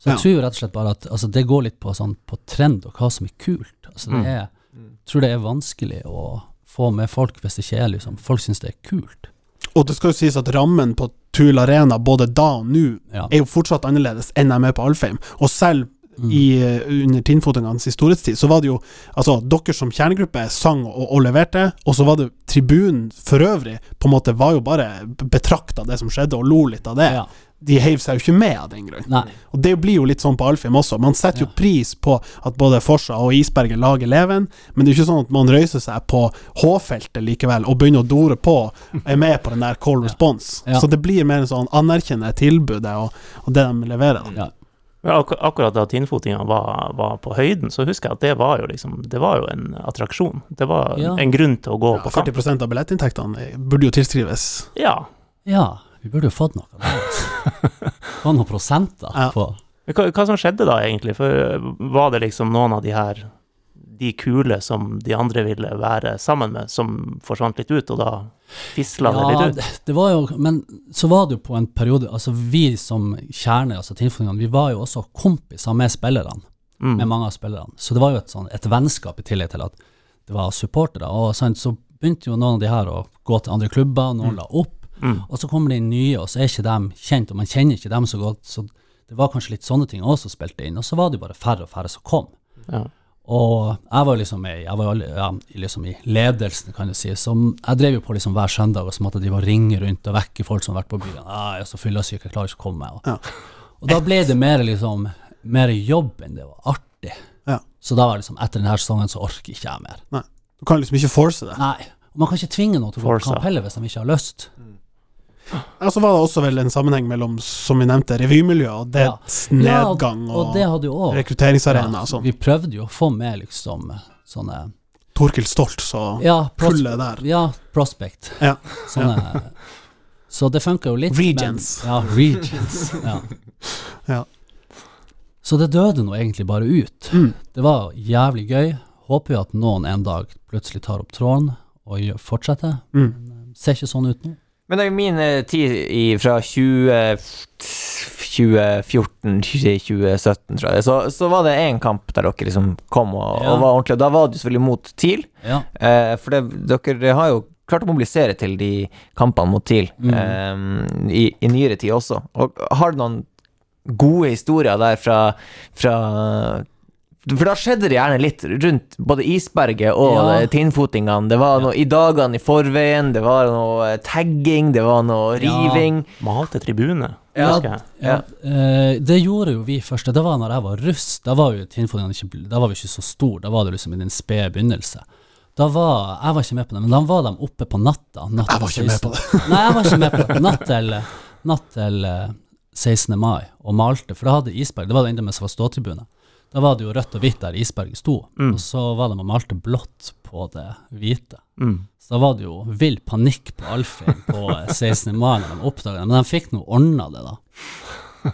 S4: Så jeg
S2: Ja.
S4: tror jo rett og slett bare at altså, det går litt på, sånn, på trend og hva som er kult. Altså, det
S2: Mm.
S4: er, jeg tror det er vanskelig å få med folk hvis det ikke er liksom Folk syns det er kult.
S2: Og det skal jo sies at rammen på Tul Arena både da og nå
S4: Ja.
S2: er jo fortsatt annerledes enn de er på Alfheim. Og selv
S4: Mm.
S2: i, eh, under Tinnfotingenes storhetstid, så var det jo Altså, dere som kjernegruppe sang og, og leverte, og så var det tribunen for øvrig på en måte var jo bare betrakta det som skjedde, og lo litt av det.
S4: Ja.
S2: De heiv seg jo ikke med av den grunn.
S4: Nei.
S2: Og det blir jo litt sånn på Alfheim også. Man setter jo pris på at både Forsa og Isberget lager leven, men det er jo ikke sånn at man røyser seg på H-feltet likevel og begynner å dore på og er med på den der call response.
S4: Ja.
S2: Så det blir mer en sånn anerkjenne tilbudet og, og det de leverer.
S4: Ja.
S1: Men ak akkurat da tinnfotinga var, var på høyden, så husker jeg at det var jo liksom Det var jo en attraksjon. Det var
S4: Ja.
S1: en grunn til å gå på kamp.
S2: 40 av billettinntektene eh, burde jo tilskrives
S1: Ja.
S4: ja, vi burde jo fått noe. av det, altså. Få noen prosenter
S2: Ja.
S4: på
S1: Men hva, hva som skjedde da, egentlig? For var det liksom noen av de her de kule som de andre ville være sammen med, som forsvant litt ut, og da fisla det litt ut?
S4: det, det var jo Men så var det jo på en periode Altså, vi som kjerne, altså tilfellene, vi var jo også kompiser med spillerne.
S1: Mm.
S4: Med mange av spillerne. Så det var jo et, sånn, et vennskap i tillegg til at det var supportere. Og sant, så begynte jo noen av de her å gå til andre klubber, og noen la opp.
S1: mm.
S4: Og så kommer de nye, og så er ikke dem kjent, og man kjenner ikke dem så godt. Så det var kanskje litt sånne ting også som spilte inn. Og så var det jo bare færre og færre som kom.
S1: Ja.
S4: Og jeg var jo liksom, i- jeg var jo alle- ja, i liksom i ledelsen, kan du si. Så jeg drev jo på liksom hver søndag og så måtte jeg drive og ringe rundt og vekke folk som har vært på byen. Ah, jeg er så fyllesyk, jeg klarer ikke å komme. Og,
S2: Ja.
S4: og da ble det mer liksom mer jobb enn det var artig.
S2: Ja.
S4: Så da var det liksom etter denne sesongen så orker ikke jeg mer.
S2: Nei. Du kan liksom ikke force det.
S4: Nei. Og man kan ikke tvinge noen til å gå på
S1: Forsa.
S4: kamp heller hvis de ikke har lyst.
S2: Og så var det også vel en sammenheng mellom, som vi nevnte, revymiljøet og dets
S4: Ja, og,
S2: nedgang og,
S4: og det hadde jo også
S2: rekrutteringsarena og sånn.
S4: Vi prøvde jo å få med liksom sånne
S2: Torkild Stolt, så
S4: Ja, pros
S2: Kullet der.
S4: Ja, Prospect.
S2: Ja.
S4: Sånne, så det funka jo litt.
S2: Regents.
S4: Men, ja, Regents. Ja.
S2: Ja.
S4: Så det døde nå egentlig bare ut. Det var jævlig gøy. Håper jo at noen en dag plutselig tar opp tråden og gjør- fortsetter. Men, eh, Ser ikke sånn ut nå.
S3: Men det er jo min eh, tid i, fra 20, 2014 til 2017, tror jeg, så, så var det én kamp der dere liksom kom og,
S4: Ja.
S3: og var ordentlig. Og da var det jo selvfølgelig mot TIL.
S4: Ja.
S3: Eh, for det, dere har jo klart å mobilisere til de kampene mot TIL eh, i, i nyere tid også. Og har du noen gode historier der fra, fra, For da skjedde det gjerne litt rundt både isberget og
S4: Ja.
S3: eh, tinnfotingene. Det var noe i dagene i forveien, det var noe eh, tagging, det var noe
S4: Ja.
S3: riving.
S1: Malte tribune,
S3: Ja.
S1: husker jeg.
S4: Ja. eh, det gjorde jo vi først. Det var når jeg var russ. Da var jo Tinnfoldingene ikke, bl- da var vi ikke så stor Da var det liksom i den spede begynnelse. Da var, jeg var ikke med på det, men da var de oppe på natta. natt
S2: Jeg var
S4: til
S2: ikke med på
S4: 16. Nei, jeg var ikke med på det. Natt til, natt til eh, 16. mai og malte, for da hadde Isberg Det var det enda mens det var ståtribune. Da var det jo rødt og hvitt der Isberget sto,
S2: Mm.
S4: og så var de og malte blått på det hvite.
S1: Mm.
S4: Så da var det jo vill panikk på Alfheim på eh, 16. mai når de oppdaga det, men de fikk nå ordna det, da.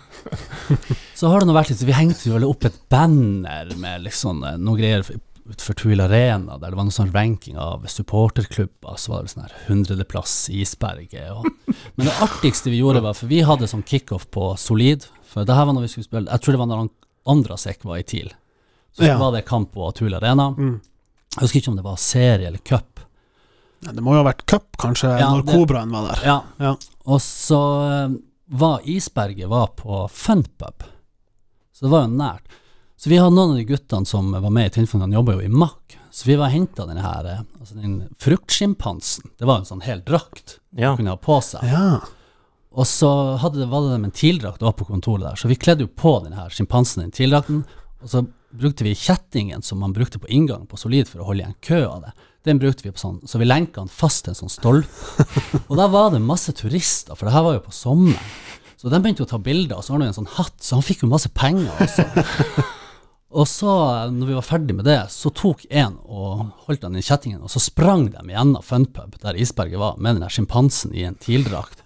S4: Så har det nå vært litt, vi hengte jo vel opp et banner med liksom eh, noe greier utenfor Tuil Arena, der det var noen sånn ranking av supporterklubber, så var det sånn her hundredeplass i Isberget og Men det artigste vi gjorde, var for vi hadde sånn kickoff på Solid, for det her var når vi skulle spille Jeg tror det var når han- Andrasek var i TIL. Så
S2: Ja.
S4: var det kamp på Tuil Arena.
S2: Mm.
S4: Jeg husker ikke om det var serie eller cup.
S2: Ja, Det må jo ha vært cup, kanskje,
S4: Ja,
S2: når
S4: det-
S2: Kobraen var der.
S4: Ja.
S2: Ja.
S4: Og så eh, var Isberget var på funpub, så det var jo nært. Så vi hadde noen av de guttene som var med i tilfellet, han jobba jo i Mack, så vi var henta denne her, eh, altså den fruktsjimpansen. Det var jo en sånn hel drakt
S1: Ja.
S4: han kunne ha på seg.
S2: Ja.
S4: Og så hadde det, var det en tildrakt også på kontoret der, så vi kledde jo på denne her sjimpansen i den tildrakten, og så brukte vi kjettingen som man brukte på inngangen på Solid for å holde igjen kø av det. Den brukte vi på sånn, så vi lenka den fast til en sånn stolpe. Og da var det masse turister, for det her var jo på sommeren. Så de begynte jo å ta bilder, og så har han jo en sånn hatt, så han fikk jo masse penger også. Og så, når vi var ferdig med det, så tok en og holdt han i kjettingen, og så sprang de gjennom funpub, der isberget var, med den der sjimpansen i en tildrakt.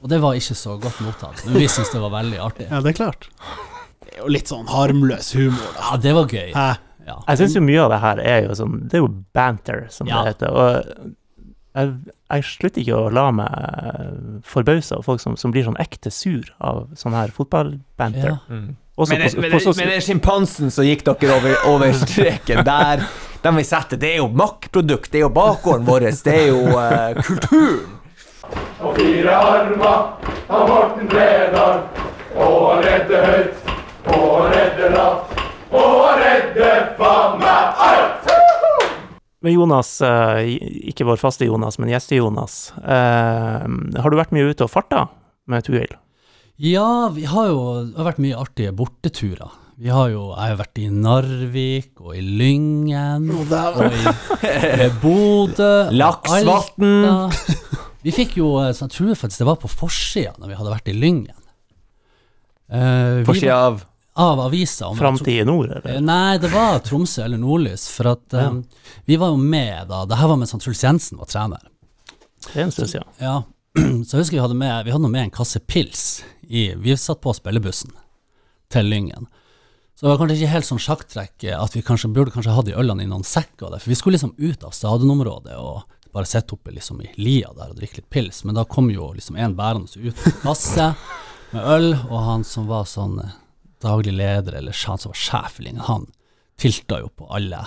S4: Og det var ikke så godt mottatt, men vi syntes det var veldig artig.
S2: ja, det er klart. Det er jo litt sånn harmløs humor, da.
S4: Ja, det var gøy.
S2: Hæ?
S4: Ja.
S1: Jeg syns jo mye av det her er jo sånn Det er jo banter, som
S4: Ja.
S1: det heter. Og jeg, jeg slutter ikke å la meg forbause av folk som, som blir sånn ekte sur av sånn her fotballbanter.
S4: Ja.
S1: Også
S3: Mm. Men, det-
S1: på-
S3: men,
S1: på
S3: det-
S1: sos-
S3: men den sjimpansen som gikk dere over, over streken der De vi setter, det er jo Mack-produkt, det er jo bakgården vår, det er jo eh, kulturen.
S6: og fire armer av Morten Bredal. Og redde høyt, og redde lavt, og redde faen meg alt!
S1: Men Jonas, eh, ikke vår faste Jonas, men gjeste-Jonas. eh, har du vært mye ute og farta med Tuil?
S4: Ja, vi har jo det har vært mye artige borteturer. Vi har jo, jeg har jo vært i Narvik og i Lyngen og i Bodø. og
S3: Laksvatn.
S4: Alta. Vi fikk jo, eh, så jeg tror faktisk det var på forsida når vi hadde vært i Lyngen. Eh, vi
S3: På sida av
S4: var- Av avisa. om-
S1: Framtid i nord,
S4: Eh,
S1: eller?
S4: Nei, det var Tromsø eller Nordlys. For at eh, vi var jo med da. Det her var mens han Truls Jensen var trener.
S1: Det er en stund siden.
S4: Ja, så jeg husker vi hadde med, vi hadde noe med en kasse pils. I, vi satt på spillebussen til Lyngen. Så det var kanskje ikke helt sånn sjakktrekk eh, at vi kanskje burde kanskje ha de ølene i noen sekker. Der, for vi skulle liksom ut av stadionområdet og bare sitte oppe liksom i lia der og drikke litt pils. Men da kom jo liksom en bærende ut med en kasse med øl, og han som var sånn eh, daglig leder, eller han som var sjef i Lyngen, han tilta jo på alle.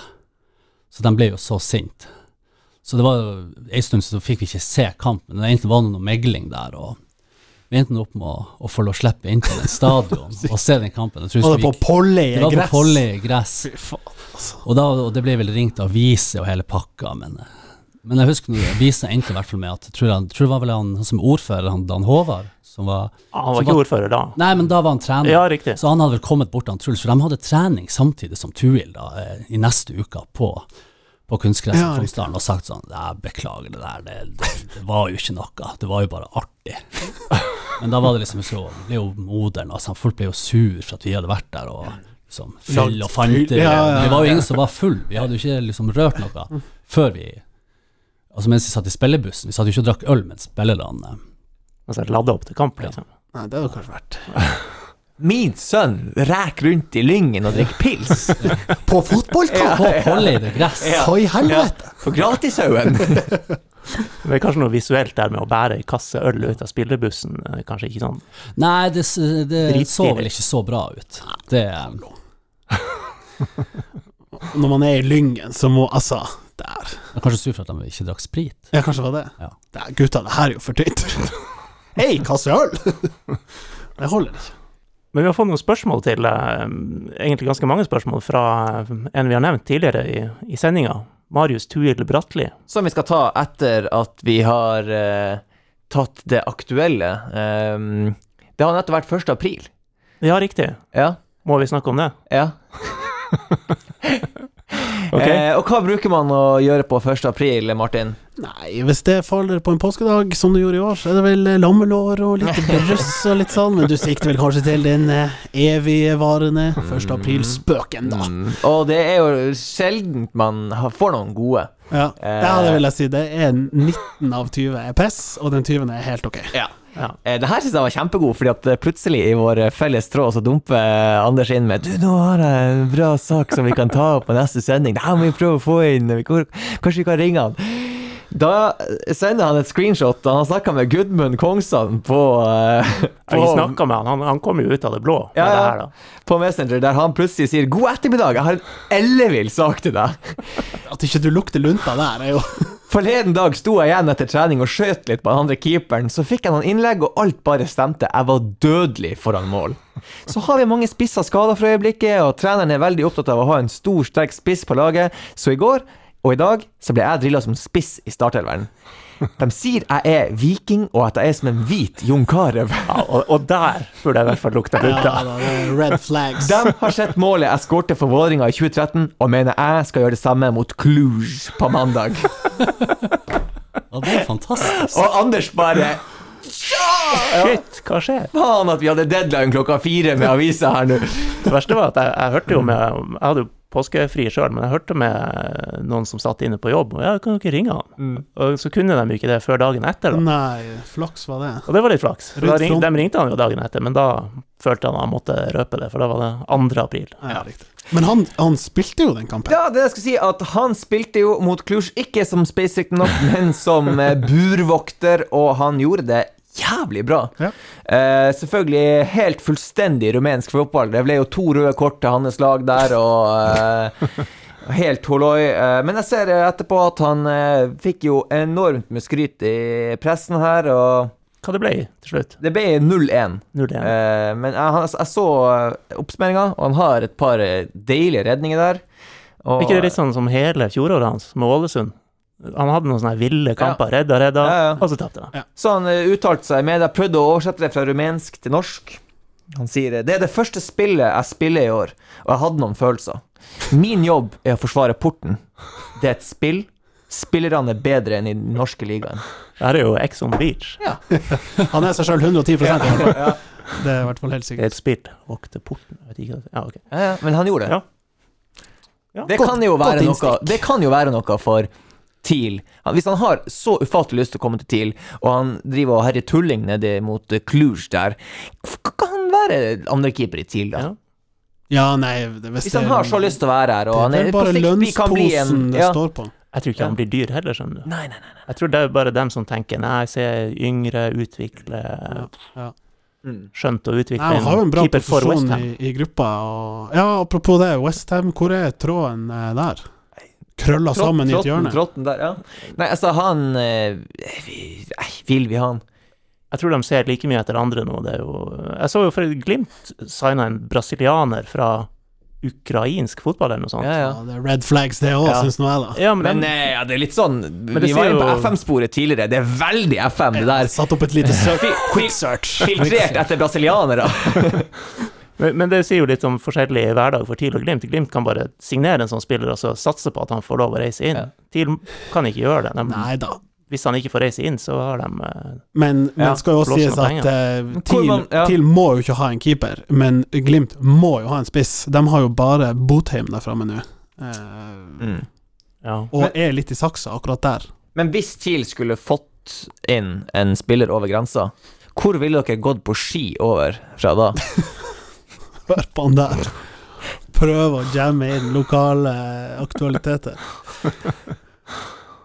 S4: Så de ble jo så sinte. Så det var jo en stund så fikk vi ikke se kampen. Det egentlig var det noe megling der, og vi endte nå opp med å, å få lov å slippe inn på den stadion og se den kampen. Jeg tror
S2: Var
S4: vi
S2: det på
S4: gikk-
S2: Polly i
S4: det var på
S2: gress?
S4: Polly i gress.
S2: Fy faen, altså.
S4: Og, da, og det ble vel ringt aviser og hele pakka, men, eh, men jeg husker noe, avisa endte i hvert fall med at jeg tror, han, tror det var vel han som ordfører, han Dan Håvard, som var
S1: Ah, Han var
S4: som
S1: ikke ordfører da.
S4: Nei, men da var han trener.
S1: Ja, riktig.
S4: Så han hadde vel kommet bort til han Truls, for de hadde trening samtidig som Tuil da, eh, i neste uke på, på kunstgresset
S2: Ja,
S4: i Tromsdalen og sagt sånn «Nei, beklager det der, det, det, det var jo ikke noe, det var jo bare artig. Men da var det liksom så, ble jo moderen, altså folk ble jo sur for at vi hadde vært der og liksom fyll og fanter.
S2: Ja, ja, ja.
S4: Det var jo ingen som var full, vi hadde jo ikke liksom rørt noe før vi, altså mens vi satt i spillebussen, vi satt jo ikke og drakk øl, men spillerne,
S1: Altså ladde opp til kamp, liksom.
S2: Nei, det hadde kanskje vært
S3: Min sønn reker rundt i Lyngen og drikker pils.
S2: På fotballkamp!
S4: på Polleide gress.
S2: Så i helvete!
S3: For gratishaugen.
S1: Det er kanskje noe visuelt der med å bære ei kasse øl ut av spillebussen. eh, Kanskje ikke sånn
S4: Nei, det, s- det
S1: Dritstilig.
S4: så vel ikke så bra ut. Det,
S2: Når man er i Lyngen, så må altså Der.
S4: jeg er kanskje sur for at de ikke drakk sprit.
S2: Ja, kanskje det var det.
S4: Ja.
S2: det er, gutta, det her er jo for tynt. Ei kasse øl! Det holder ikke.
S1: Men vi har fått noen spørsmål til, eh, egentlig ganske mange spørsmål, fra eh, en vi har nevnt tidligere i, i sendinga. Marius Tuil Bratli.
S3: Som vi skal ta etter at vi har eh, tatt det aktuelle. Ehm, det har nettopp vært 1. april.
S1: Ja, riktig.
S3: Ja.
S1: Må vi snakke om det?
S3: ja.
S5: Ok.
S3: Eh, og hva bruker man å gjøre på 1. april, Martin?
S2: Nei, hvis det faller på en påskedag, som det gjorde i år, så er det vel eh, lammelår og litt brøss og litt sånn, men du sikter vel kanskje til den eh, evigvarende 1. april-spøken, da.
S3: Mm. Og det er jo sjelden man har- får noen gode.
S2: Ja.
S3: Eh.
S2: ja, det vil jeg si. Det er 19 av 20 er piss, og den 20. er helt ok.
S3: Eh, Det her synes jeg var kjempegod, fordi at eh, plutselig i vår eh, felles tråd så dumper eh, Anders inn med Du, nå har jeg en bra sak som vi kan ta opp på neste sending. Det her må vi prøve å få inn. Vi kan- Kanskje vi kan ringe han. Da eh, sender han et screenshot. Han har snakka med Gudmund Kongsand på, eh,
S1: Jeg har
S3: på,
S1: snakka med han, han, han kom jo ut av det blå. med
S3: Ja, ja.
S1: det her, da.
S3: på Messenger, der han plutselig sier 'God ettermiddag, jeg har en ellevill sak til deg'.
S2: At ikke du lukter lunta der, er jo
S3: Forleden dag sto jeg igjen etter trening og skjøt litt på den andre keeperen. Så fikk jeg noen innlegg, og alt bare stemte. Jeg var dødelig foran mål. Så har vi mange spissa skader for øyeblikket, og treneren er veldig opptatt av å ha en stor, sterk spiss på laget, så i går og i dag så ble jeg drilla som spiss i startelveren. De sier jeg er viking, og at jeg er som en hvit Jon Carew.
S1: Ja, og, og der burde jeg i hvert fall lukte
S2: ja,
S1: lunta.
S2: da, det er Red flags.
S3: De har sett målet jeg skårte for Vålerenga i 2013, og mener jeg skal gjøre det samme mot Cluj på mandag.
S4: Ja, det er fantastisk.
S3: Og Anders bare
S1: Shit, hva skjer?
S3: Faen at vi hadde deadline klokka fire med avisa her nå.
S1: Det verste var at jeg, jeg hørte jo med Jeg hadde jo påskefri sjøl, men jeg hørte med eh, noen som satt inne på jobb, og jeg kan jo ikke ringe han. Og så kunne de jo ikke det før dagen etter, da.
S2: Nei, flaks var det.
S1: Og det var Mm. litt sånn. flaks. For Da
S2: Rundt
S1: ring,
S2: front.
S1: de ringte han jo dagen etter, men da følte han han måtte røpe det, for da var det 2. april.
S2: Ja, riktig. Men han, han spilte jo den kampen.
S3: Ja, det jeg skulle si at han spilte jo mot Cluj, ikke som space riktignok, men som eh, burvokter, og han gjorde det jævlig bra.
S2: Ja.
S3: Eh, selvfølgelig helt fullstendig rumensk fotball. Det ble jo to røde kort til hans lag der, og eh, Helt holoi. Eh, Men jeg ser eh, etterpå at han eh, fikk jo enormt med skryt i pressen her, og
S1: Hva det ble til slutt?
S3: det ble 0-1.
S1: 0-1.
S3: Eh, men jeg, han- jeg så eh, oppsummeringa, og han har et par eh, deilige redninger der. Og,
S1: Er ikke det litt sånn som hele fjoråret hans med Ålesund? Han hadde noen sånne ville kamper. Redda, redda,
S3: Ja, ja.
S1: og så tapte de.
S3: Så han eh, uttalte seg med Jeg prøvde å oversette det fra rumensk til norsk. Han sier det er det første spillet jeg spiller i år, og jeg hadde noen følelser. Min jobb er å forsvare porten. Det er et spill. Spillerne er bedre enn i den norske ligaen.
S1: Det her er jo Ex on Beach.
S2: Han er seg sjøl 110 i hvert fall. Det er i hvert fall
S1: Det
S2: helt
S1: er
S2: sikkert.
S1: et spill. Vokte porten Jeg vet ikke hva det- Ja, ok.
S3: Ja, ja, men han gjorde det.
S1: Ja. Ja.
S3: Det
S2: Godt-
S3: kan jo være
S2: godt
S3: noe
S2: innstikk.
S3: Det kan jo være noe for TIL. Han- Hvis han har så ufattelig lyst til å komme til TIL, og han driver og herjer tulling nede mot eh, Cluj der, hvorfor kan han være andrekeeper i TIL, da?
S1: Ja.
S2: Ja, nei, det, hvis,
S3: Hvis han har så lyst til å være her, og
S2: Det
S3: han
S2: er
S3: er
S2: vel
S3: på
S2: bare
S3: sikt vi kan bli en
S2: lønnsposen det
S3: ja.
S2: står på.
S1: Jeg tror ikke han blir dyr heller, skjønner du.
S3: Nei, nei, nei.
S1: Jeg tror det er bare dem som tenker nei, se yngre, utvikle
S2: Ja.
S3: Mm.
S1: Skjønt å utvikle
S2: Nei, han har jo en bra
S1: keeper for
S2: posisjon i,
S1: Westham.
S2: i gruppa. Og, ja, apropos det, Westham, hvor er tråden eh, der? Krølla sammen i et hjørne.
S3: Trotten der, ja. Nei, altså, han eh, vi, nei, Vil vi ha han?
S1: Jeg tror de ser like mye etter andre nå. Det er jo Jeg så jo for Glimt signa en brasilianer fra ukrainsk fotball eller noe sånt.
S3: Ja,
S1: Ja,
S3: ja.
S2: Ja, det er red flags, det òg,
S1: Ja.
S2: synes nå jeg, da.
S1: men,
S3: Men
S1: de,
S3: eh, ja, det er litt sånn
S1: det
S3: Vi var
S1: sier
S3: inne på
S1: jo-
S3: FM-sporet tidligere. Det er veldig FM, det der.
S2: Satt opp et lite søk.
S3: Fi- fi- Filtrert etter brasilianere.
S1: men, men det sier jo litt om forskjellig hverdag for TIL og Glimt. Glimt kan bare signere en sånn spiller og så satse på at han får lov å reise inn.
S3: Ja.
S1: TIL kan ikke gjøre det. De,
S2: Nei da.
S1: hvis han ikke får reise inn, så har de eh,
S2: Men
S3: Ja,
S2: men skal jo også
S1: blåser
S2: sies
S1: noen
S2: at eh,
S3: Hvor
S2: TIL,
S3: man- ja.
S2: TIL må jo ikke ha en keeper, men Glimt må jo ha en spiss. De har jo bare Botheim der framme nå, eh,
S3: Mm.
S1: Ja.
S2: og er litt i saksa akkurat der.
S3: Men hvis TIL skulle fått inn en spiller over grensa, hvor ville dere gått på ski over fra da?
S2: Hør på han der. Prøve å jamme inn lokale aktualiteter.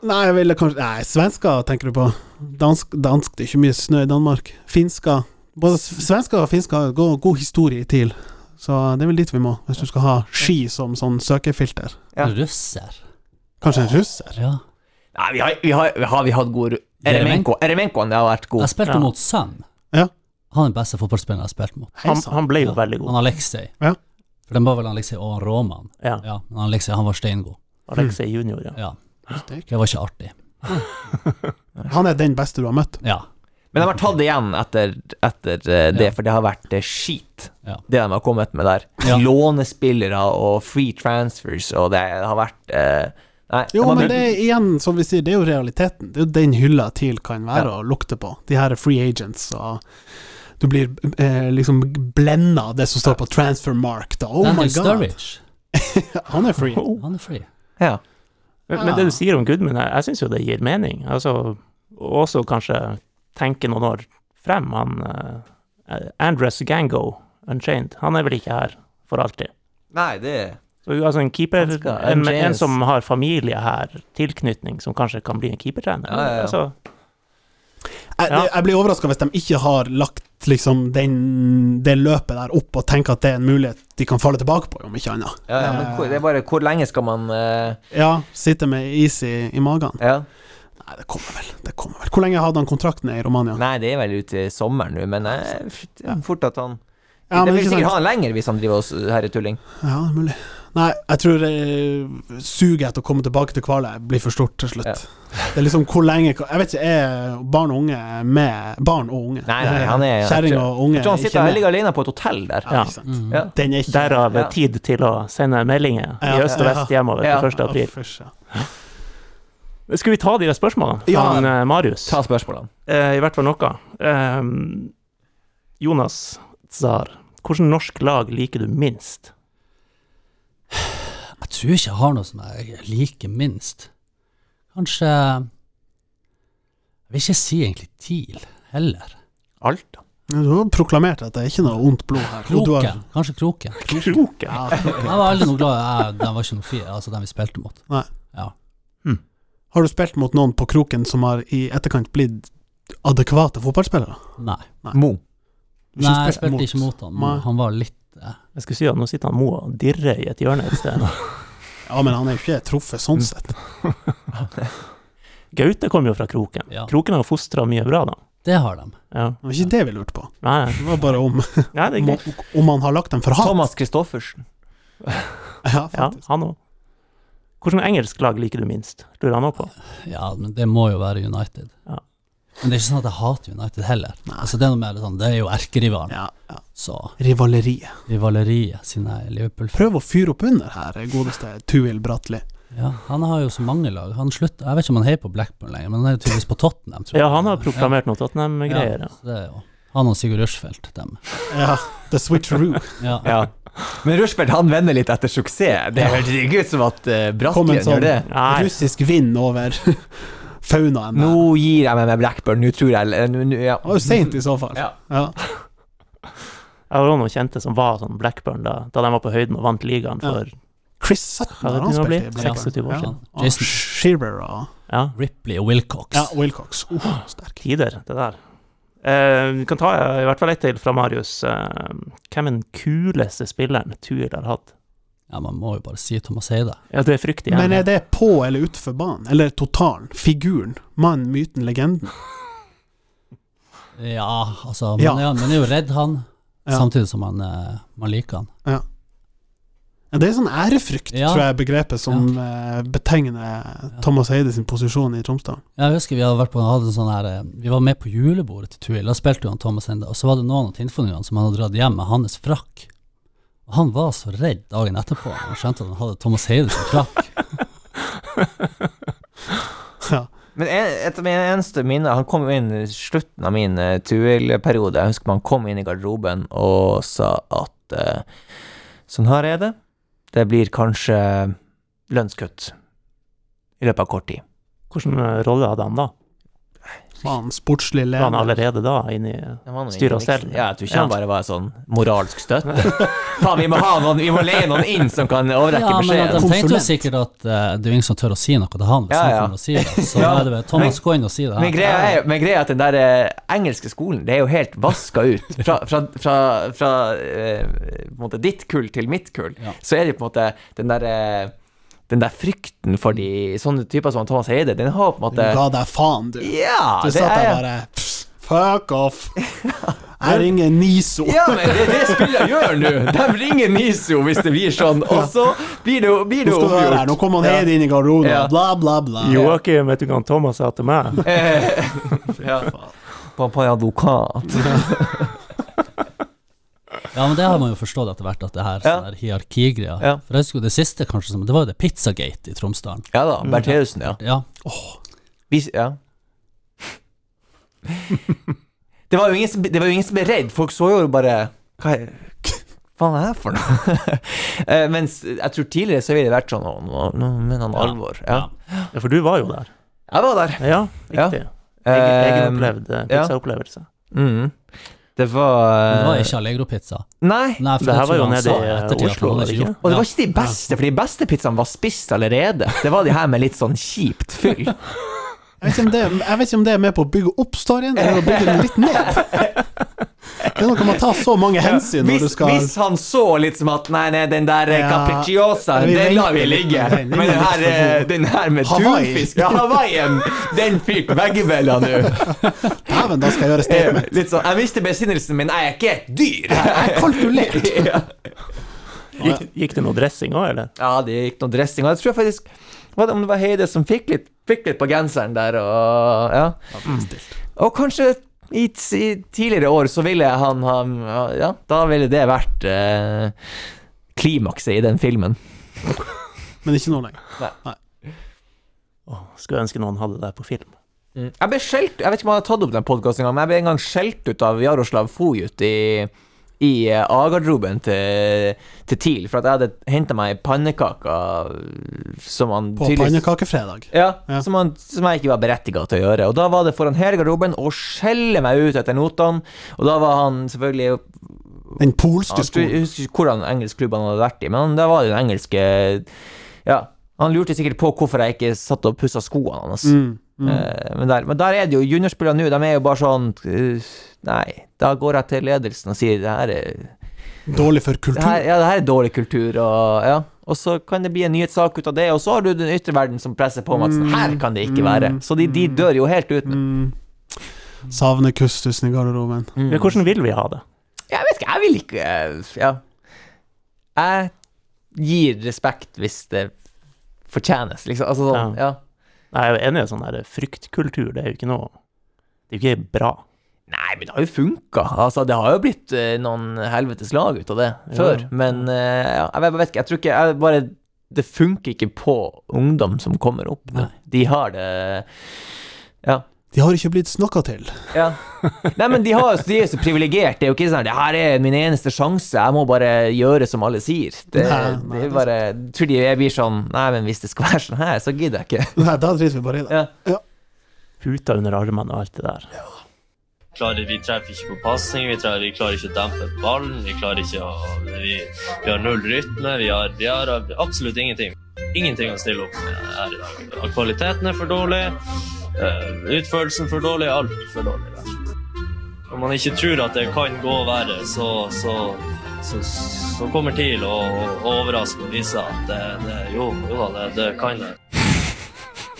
S2: Nei, jeg ville kanskje Nei, svensker tenker du på. Dansk, dansk det er ikke mye snø i Danmark. Finsker. Både s- svensker og finsker har god, god historie i TIL, så det er vel dit vi må, hvis du skal ha ski som sånn søkefilter.
S3: Ja.
S4: Russer.
S2: Kanskje en russer?
S4: Ja.
S3: Nei,
S4: Altså-
S3: vi har, vi har, har vi hatt god ru- Eremenko. Eremenkoen har vært god.
S4: Jeg spilte
S1: Ja.
S4: mot Sam.
S2: Ja.
S4: Han er den beste fotballspilleren jeg har spilt mot.
S1: Han, han ble jo
S4: Ja.
S1: veldig
S4: Han
S1: god.
S4: Alexei.
S2: Ja.
S4: For den var vel Alexei og han Roman.
S1: Ja.
S4: Ja, men Alexei han var steingod.
S1: Alexei junior, ja.
S4: Ja.
S2: Steik.
S4: Det var ikke artig.
S2: Han er den beste du har møtt.
S4: Ja.
S3: Men de har tatt igjen etter, etter eh, det,
S4: Ja.
S3: for det har vært eh, skit,
S4: Ja.
S3: det de har kommet med der.
S4: Ja.
S3: Lånespillere og free transfers, og det har vært eh, Nei.
S2: Jo,
S3: de har
S2: men
S3: brukt-
S2: det er igjen, som vi sier, det er jo realiteten. Det er jo den hylla TIL kan være å lukte på. De her er free agents, og du blir eh, liksom blenda av det som står på transfer mark, da. Oh my
S4: Daniel
S2: god.
S4: Sturridge,
S2: Han er free.
S1: Oh.
S4: han er free.
S3: ja.
S1: Men, men det du sier om Gudmund, jeg, jeg syns jo det gir mening. Altså, og også kanskje tenke noen år frem. Han eh, Andres Gango, Unchained, han er vel ikke her for alltid.
S3: Nei, det
S1: Så, altså en keeper,
S3: Han skal-
S1: en,
S3: Andreas.
S1: en som har familie her, tilknytning, som kanskje kan bli en keepertrener.
S3: Ja, ja, ja.
S1: Altså,
S2: Jeg,
S1: Ja.
S2: jeg blir overraska hvis de ikke har lagt liksom den, det løpet der opp, og tenker at det er en mulighet de kan falle tilbake på, om ikke annet.
S3: ja, ja, men hvor, Det er bare hvor lenge skal man eh,
S2: Ja, sitte med is i, i magen.
S3: Ja.
S2: Nei, det kommer vel. Det kommer vel. Hvor lenge hadde han kontrakten i Romania?
S3: Nei, det er vel ute i sommeren nå, men eh, f- det er fort at han
S2: Ja,
S3: Det
S2: men
S3: vil
S2: ikke
S3: sikkert
S2: sant?
S3: ha han lenger hvis han driver oss herretulling.
S2: Ja, det er mulig. Nei, jeg tror eh, suget etter å komme tilbake til Kvaløy blir for stort til slutt. Det er liksom hvor lenge Jeg vet ikke, er barn og unge med Barn og unge.
S3: Nei, nei, han er-
S2: Kjerring og unge.
S3: Jeg tror han
S2: er ikke
S3: sitter
S2: med.
S3: og ligger alene på et hotell der.
S2: Ja, ikke
S4: Mm.
S2: sant.
S3: Ja.
S2: Den er ikke
S1: derav
S3: Ja.
S1: tid til å sende meldinger
S2: Ja,
S1: i øst og
S2: ja,
S1: vest hjemover
S3: ja.
S1: til 1.
S2: Ja,
S1: april.
S2: først, ja.
S1: Skal vi ta de der spørsmålene fra
S2: Ja.
S1: han, eh, Marius?
S3: Ta spørsmålene.
S1: Eh, I hvert fall noe. Ehm, Jonas Tsar, hvilket norsk lag liker du minst?
S4: Jeg tror ikke jeg har noe som jeg liker minst. Kanskje Jeg vil ikke si egentlig TIL heller.
S1: Alta.
S2: Ja, Du har proklamert at det er ikke noe ondt blod her. Og du har-
S4: Kroken. Kanskje Kroken.
S1: Kroken?
S2: Ja, kroken.
S4: Jeg var aldri noe glad jeg, Den var ikke noe fire, altså den vi spilte mot.
S2: Nei.
S4: Ja.
S2: Har du spilt mot noen på kroken som har i etterkant blitt adekvate fotballspillere?
S4: Nei.
S3: Mo.
S2: Du
S4: Nei,
S2: har
S4: jeg
S2: spilt
S4: spilte
S2: mot-
S4: ikke mot han.
S2: Nei.
S4: Han var litt eh,
S1: Jeg skulle si at nå sitter han Mo og dirrer i et hjørne et sted.
S2: Ja, men han er jo ikke truffet
S4: Mm.
S2: sånn sett.
S1: Gaute kom jo fra Kroken.
S4: Ja.
S1: Kroken har fostra mye bra, da.
S4: Det har de.
S1: Ja.
S2: Det var ikke det vi lurte på.
S1: Nei, nei.
S2: Det var bare om,
S1: nei, det er
S2: om,
S1: greit.
S2: om han har lagt dem for hat.
S3: Thomas Christoffersen.
S2: Ja,
S1: Ja,
S2: faktisk.
S1: han òg. Hvilket engelsk lag liker du minst? Lurer han òg på.
S4: Ja, men det må jo være United.
S1: Ja.
S4: Men det er ikke sånn at jeg hater United heller. Altså Det er noe mer sånn, det er jo erkerivalen.
S2: Ja, ja.
S4: Så
S2: Rivaleriet.
S4: rivaleriet siden jeg er Liverpool.
S2: Prøv å fyre opp under her, godeste Tuil Bratli.
S4: Ja, han har jo så mange lag. Han slutt, jeg vet ikke om han heier på Blackburn lenger, men han er jo tydeligvis på Tottenham. tror jeg.
S1: Ja, han har proklamert noe Tottenham-greier.
S4: Ja,
S1: Ja.
S4: så det er jo. Han og Sigurd Rushfeldt, dem.
S2: Ja, The Switcheroo.
S4: Ja.
S3: Ja. Men Rushfeldt han vender litt etter suksess. Det hørtes ikke ut som at eh,
S2: Kom
S3: Brattgren
S2: en sånn
S3: gjør det.
S1: Nei,
S2: russisk vind over faunaen.
S3: Nå
S2: der.
S3: gir jeg meg med Blackburn, nå tror jeg eller, nå- nå- ja.
S2: Det var jo seint i så fall.
S3: Ja.
S2: Ja.
S1: jeg har også noen kjente som var sånn Blackburn da, da de var på høyden og vant ligaen
S2: Ja.
S1: for
S2: Chris Sutton
S1: Hva
S2: har
S1: vet
S2: han
S1: du nå
S2: spilt i
S1: blir? 26
S2: Blackburn.
S1: år
S2: Ja.
S1: siden.
S2: Og
S4: Jason-
S2: Shearer og
S1: Ja,
S4: Ripley og Wilcox.
S2: ja, Wilcox. Oh, sterk.
S1: tider, det der. Eh, vi kan ta eh, i hvert fall ett til fra Marius. Eh, hvem er den kuleste spilleren Tuil har hatt?
S4: Ja, man må jo bare si Thomas Heide.
S1: Ja, det er fryktelig
S2: Men
S1: gjerne.
S2: er det på eller utenfor banen? Eller totalen? Figuren? Mannen, myten, legenden?
S4: Ja, altså, man,
S2: Ja.
S4: Er, man er jo redd han,
S2: Ja.
S4: samtidig som man, eh, man liker han.
S2: Ja, Det er sånn ærefrykt,
S4: Ja.
S2: tror jeg er begrepet som eh, betegner Thomas Heide sin posisjon i Tromsdalen.
S4: Jeg husker vi hadde vært på hadde en sånn her eh, Vi var med på julebordet til Tuil, da spilte jo han Thomas Hende, og så var det noen av tinnfonningene som han hadde dratt hjem med hans frakk. Og han var så redd dagen etterpå, når han skjønte at han hadde Thomas Heide sin frakk.
S2: Ja.
S3: Men en, et av mine eneste minner Han kom jo inn i slutten av min uh, Tuil-periode. Jeg husker man kom inn i garderoben og sa at eh, sånn her er det. Det blir kanskje lønnskutt i løpet av kort tid.
S1: Hvilken eh, rolle hadde han da?
S2: Var han sportslig
S1: Var han
S2: leder?
S1: allerede da inne i
S3: Det var noe
S1: Styr og
S3: ikke-
S1: stell.
S3: Ja, jeg tror ikke
S1: Ja.
S3: han bare var sånn moralsk støtte. Faen, vi må ha noen Vi må leie noen inn som kan overrekke
S4: Ja, men
S3: beskjeden.
S4: de tenkte jo
S2: Konsulent.
S4: sikkert at eh, det er jo ingen som tør å si noe til han, hvis
S3: Ja,
S4: han
S3: ja.
S4: kommer og sier det. Så da
S3: Ja.
S4: er det bare Thomas, gå inn og si det
S3: Men
S4: her.
S3: greia er, men greia er at den der eh, engelske skolen, det er jo helt vaska ut. Fra, fra, fra, fra eh, på en måte ditt kull til mitt kull,
S4: Ja.
S3: så er det på en måte den der eh, den der frykten for de sånne typer som Thomas Heide, den har på en
S2: Du
S3: måte
S2: ga deg faen, du.
S3: Ja!
S2: Du
S3: Det
S2: satt der
S3: er,
S2: bare pss, Fuck off! Jeg ringer Niso.
S3: Ja, men det er det spillet gjør nå. De ringer Niso hvis det blir sånn, og så blir det, blir
S2: Nå
S3: det
S2: skal du være her, nå
S3: oppgjort.
S2: kommer han helt inn i garderoben,
S3: Ja.
S2: bla, bla, bla.
S1: Joakim, vet du hva han Thomas sa til meg?
S3: Eh, ja. Pappa er advokat.
S4: Ja, men det har man jo forstått etter hvert, at det
S3: Ja.
S4: her sånn her hierarkigreier.
S3: Ja.
S4: For jeg husker jo det siste, kanskje, som, det var jo det Pizzagate i Tromsdalen.
S3: Ja da, Bertheussen, ja.
S4: Ja,
S3: Vi- ja. Det var jo ingen som, det var jo ingen som ble redd. Folk så jo bare Hva er faen er det her for noe? Eh, Mens jeg tror tidligere så ville det vært sånn Nå, nå, nå mener han alvor. Ja.
S1: Ja, for du var jo der.
S3: Jeg var der.
S1: Ja, riktig. Egen, egenopplevd eh,
S3: ja.
S1: pizzaopplevelse.
S3: Eh, mm. Det var
S4: men det var
S3: eh,
S4: ikke Allegro-pizza.
S3: Nei.
S4: Nei, for
S1: Det
S4: jeg
S1: her
S4: tror
S1: var jo
S4: han
S1: nede
S4: sa
S1: i eh,
S4: ettertid at
S1: Oslo,
S4: han
S1: var
S4: hadde
S1: det
S4: ikke
S1: ikke?
S4: gjort-
S3: Og det
S4: Ja.
S3: var ikke de beste, for de beste pizzaene var spist allerede. Det var de her med litt sånn kjipt fyll.
S2: Jeg vet, ikke om det, jeg vet ikke om det er med på å bygge opp storyen, eller å bygge den litt ned. Det er noe man tar så mange hensyn når du
S3: Hvis,
S2: skal
S3: hvis han så litt som at Nei, nei, den der eh,
S2: Ja.
S3: capricciosa,
S2: Vi
S3: den lar vi
S2: venter litt
S3: ligge.
S2: på den. Den
S3: Men
S2: er
S3: den
S2: litt
S3: her,
S2: for
S3: eh,
S2: god.
S3: den her med
S2: Hawaii.
S3: tunfisk Ja, Hawaiien, den fikk begge bella nå.
S2: Dæven, da skal jeg gjøre
S3: Eh,
S2: statement.
S3: Litt sånn Jeg mister besinnelsen min, jeg er ikke et dyr.
S2: Jeg er kalkulert.
S3: Ja.
S1: Gikk, gikk det noe dressing òg, eller?
S3: Ja, det gikk noe dressing. Og jeg tror faktisk var det om det var Heide som fikk litt, fikk litt på genseren der, og ja. Og kanskje i, t- i tidligere år så ville han ha Ja, da ville det vært eh, klimakset i den filmen.
S2: Men ikke nå lenger.
S1: Åh, skulle ønske noen hadde det der på film.
S3: Mm. Jeg ble skjelt Jeg vet ikke om jeg har tatt opp den podkasten, men jeg ble en gang skjelt ut av Jaroslav Fojut i, i eh, A-garderoben til, til TIL, for at jeg hadde henta meg pannekaker eh, som han
S2: På pannekakefredag.
S3: ja,
S2: Ja.
S3: Som, han, som jeg ikke var berettiga til å gjøre. Og da var det foran hele garderoben å skjelle meg ut etter notene, og da var han selvfølgelig
S2: Den
S3: ja,
S2: polske
S3: Jeg
S2: skolen.
S3: husker ikke hvordan engelsk klubb han hadde vært i, men han- da var det den engelske Ja. Han lurte sikkert på hvorfor jeg ikke satt og pussa skoene hans.
S2: Mm, mm.
S3: Eh, Men, der, men der er det jo juniorspillere nå, de er jo bare sånn eh, Nei, da går jeg til ledelsen og sier det her er,
S2: Dårlig for
S3: det her,
S2: kultur.
S3: ja, det her er dårlig kultur, og ja. Og så kan det bli en nyhetssak ut av det, og så har du den ytre verden som presser på om at sånn her kan det ikke være. Så de, de dør jo helt ut. nå.
S2: Mm. Savner kustusen i garderoben.
S3: Mm.
S1: Men hvordan vil vi ha det?
S3: Jeg vet ikke, jeg vil ikke eh, Ja. Jeg gir respekt hvis det fortjenes, liksom. Altså sånn, ja.
S1: Nei, jeg er enig i sånn der fryktkultur, det er jo ikke noe Det er jo ikke bra.
S3: Nei, men det har jo funka. Altså, det har jo blitt eh, noen helvetes lag ut av det
S1: Ja.
S3: før. Men eh, ja, jeg vet- vet ikke, jeg tror ikke jeg bare Det funker ikke på ungdom som kommer opp. nå.
S4: Nei.
S3: De har det Ja.
S2: De har ikke blitt snakka til.
S3: Ja. Nei, men de, har, de er så privilegert. Det er jo ikke sånn Det her er min eneste sjanse, jeg må bare gjøre som alle sier. Det,
S2: Nei, nei, det
S3: det er
S2: er
S3: bare jeg Tror de jeg blir sånn Nei, men hvis det skal være sånn her, så gidder jeg ikke.
S2: Nei, da driter vi bare i det.
S3: Ja.
S1: Puta under armene og alt det der.
S7: klarer, vi treffer ikke på pasning, vi, klarer- vi klarer ikke å dempe ballen, vi klarer ikke å Vi, vi har null rytme, vi har, vi har absolutt ingenting. Ingenting å stille opp med her i dag. Kvaliteten er for dårlig, eh, utførelsen for dårlig, alt for dårlig. rett og slett. Når man ikke tror at det kan gå verre, så, så, så, så kommer TIL og, og overrasker og viser at det, det, jo, jo da, det, det kan det.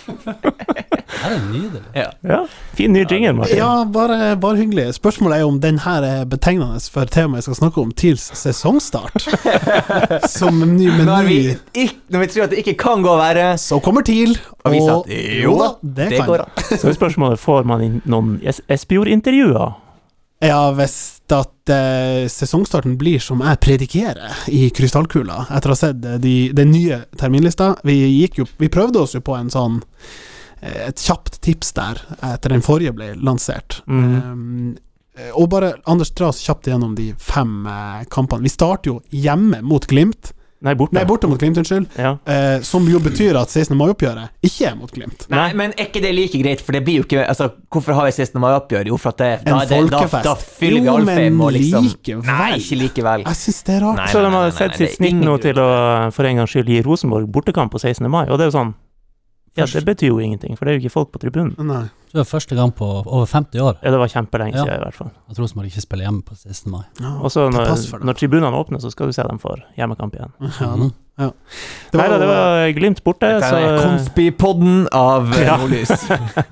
S4: Det her er nydelig.
S1: Ja, fin ny jingle, Martin.
S2: Ja, bare, bare hyggelig. Spørsmålet er jo om den her er betegnende for temaet jeg skal snakke om, TILs sesongstart. Som en ny
S3: Når vi,
S2: meny.
S3: ikk, når vi tror at det ikke kan gå verre,
S2: Så kommer TIL,
S3: og viser
S2: og
S3: at jo da, det,
S2: kan.
S3: går an.
S1: Så er spørsmålet får man inn noen Es- Espejord-intervjuer.
S2: Ja, hvis at eh, sesongstarten blir som jeg predikerer i krystallkula, etter å ha sett eh, de, den nye terminlista Vi, gikk jo, vi prøvde oss jo på en sånn eh, et kjapt tips der, etter den forrige ble lansert. Eh, og bare, Anders, dra oss kjapt gjennom de fem eh, kampene. Vi starter jo hjemme mot Glimt.
S1: Nei, borte.
S2: Nei, borte mot Glimt, unnskyld.
S1: Ja.
S2: Eh, som jo betyr at 16. mai-oppgjøret ikke er mot Glimt.
S3: Nei, men er ikke det like greit, for det blir jo ikke Altså, hvorfor har vi 16. mai-oppgjør? Jo, for at det,
S2: En
S3: da, det, da,
S2: folkefest.
S3: da fyller vi
S2: Jo,
S3: Alfheim
S2: men Altså,
S3: og liksom
S2: likevel.
S3: Nei, ikke likevel.
S2: Jeg syns det er rart.
S3: Nei,
S1: Så de
S3: nei, nei,
S1: hadde
S3: nei,
S1: sett
S3: nei,
S1: sitt
S3: det er
S1: snitt nå
S3: ingen
S1: til å for en gangs skyld gi Rosenborg bortekamp på 16. mai, og det er jo sånn Ja, det betyr jo ingenting, for det er jo ikke folk på tribunen.
S2: Nei.
S4: Jeg tror det er første gang på over 50 år
S1: Ja, det var kjempelenge
S4: Ja.
S1: siden, i hvert fall.
S4: at Rosenborg ikke spiller hjemme på 16. mai.
S2: Ja,
S1: Og så
S2: til
S1: når,
S2: pass for dem.
S1: når tribunene åpner, så skal du se dem for hjemmekamp igjen.
S2: Ja, da.
S4: Mhm.
S2: ja.
S1: Nei da, det var Glimt borte,
S3: Dette
S1: så
S3: er Konspipodden av eh,
S1: Ja.
S3: Nordlys.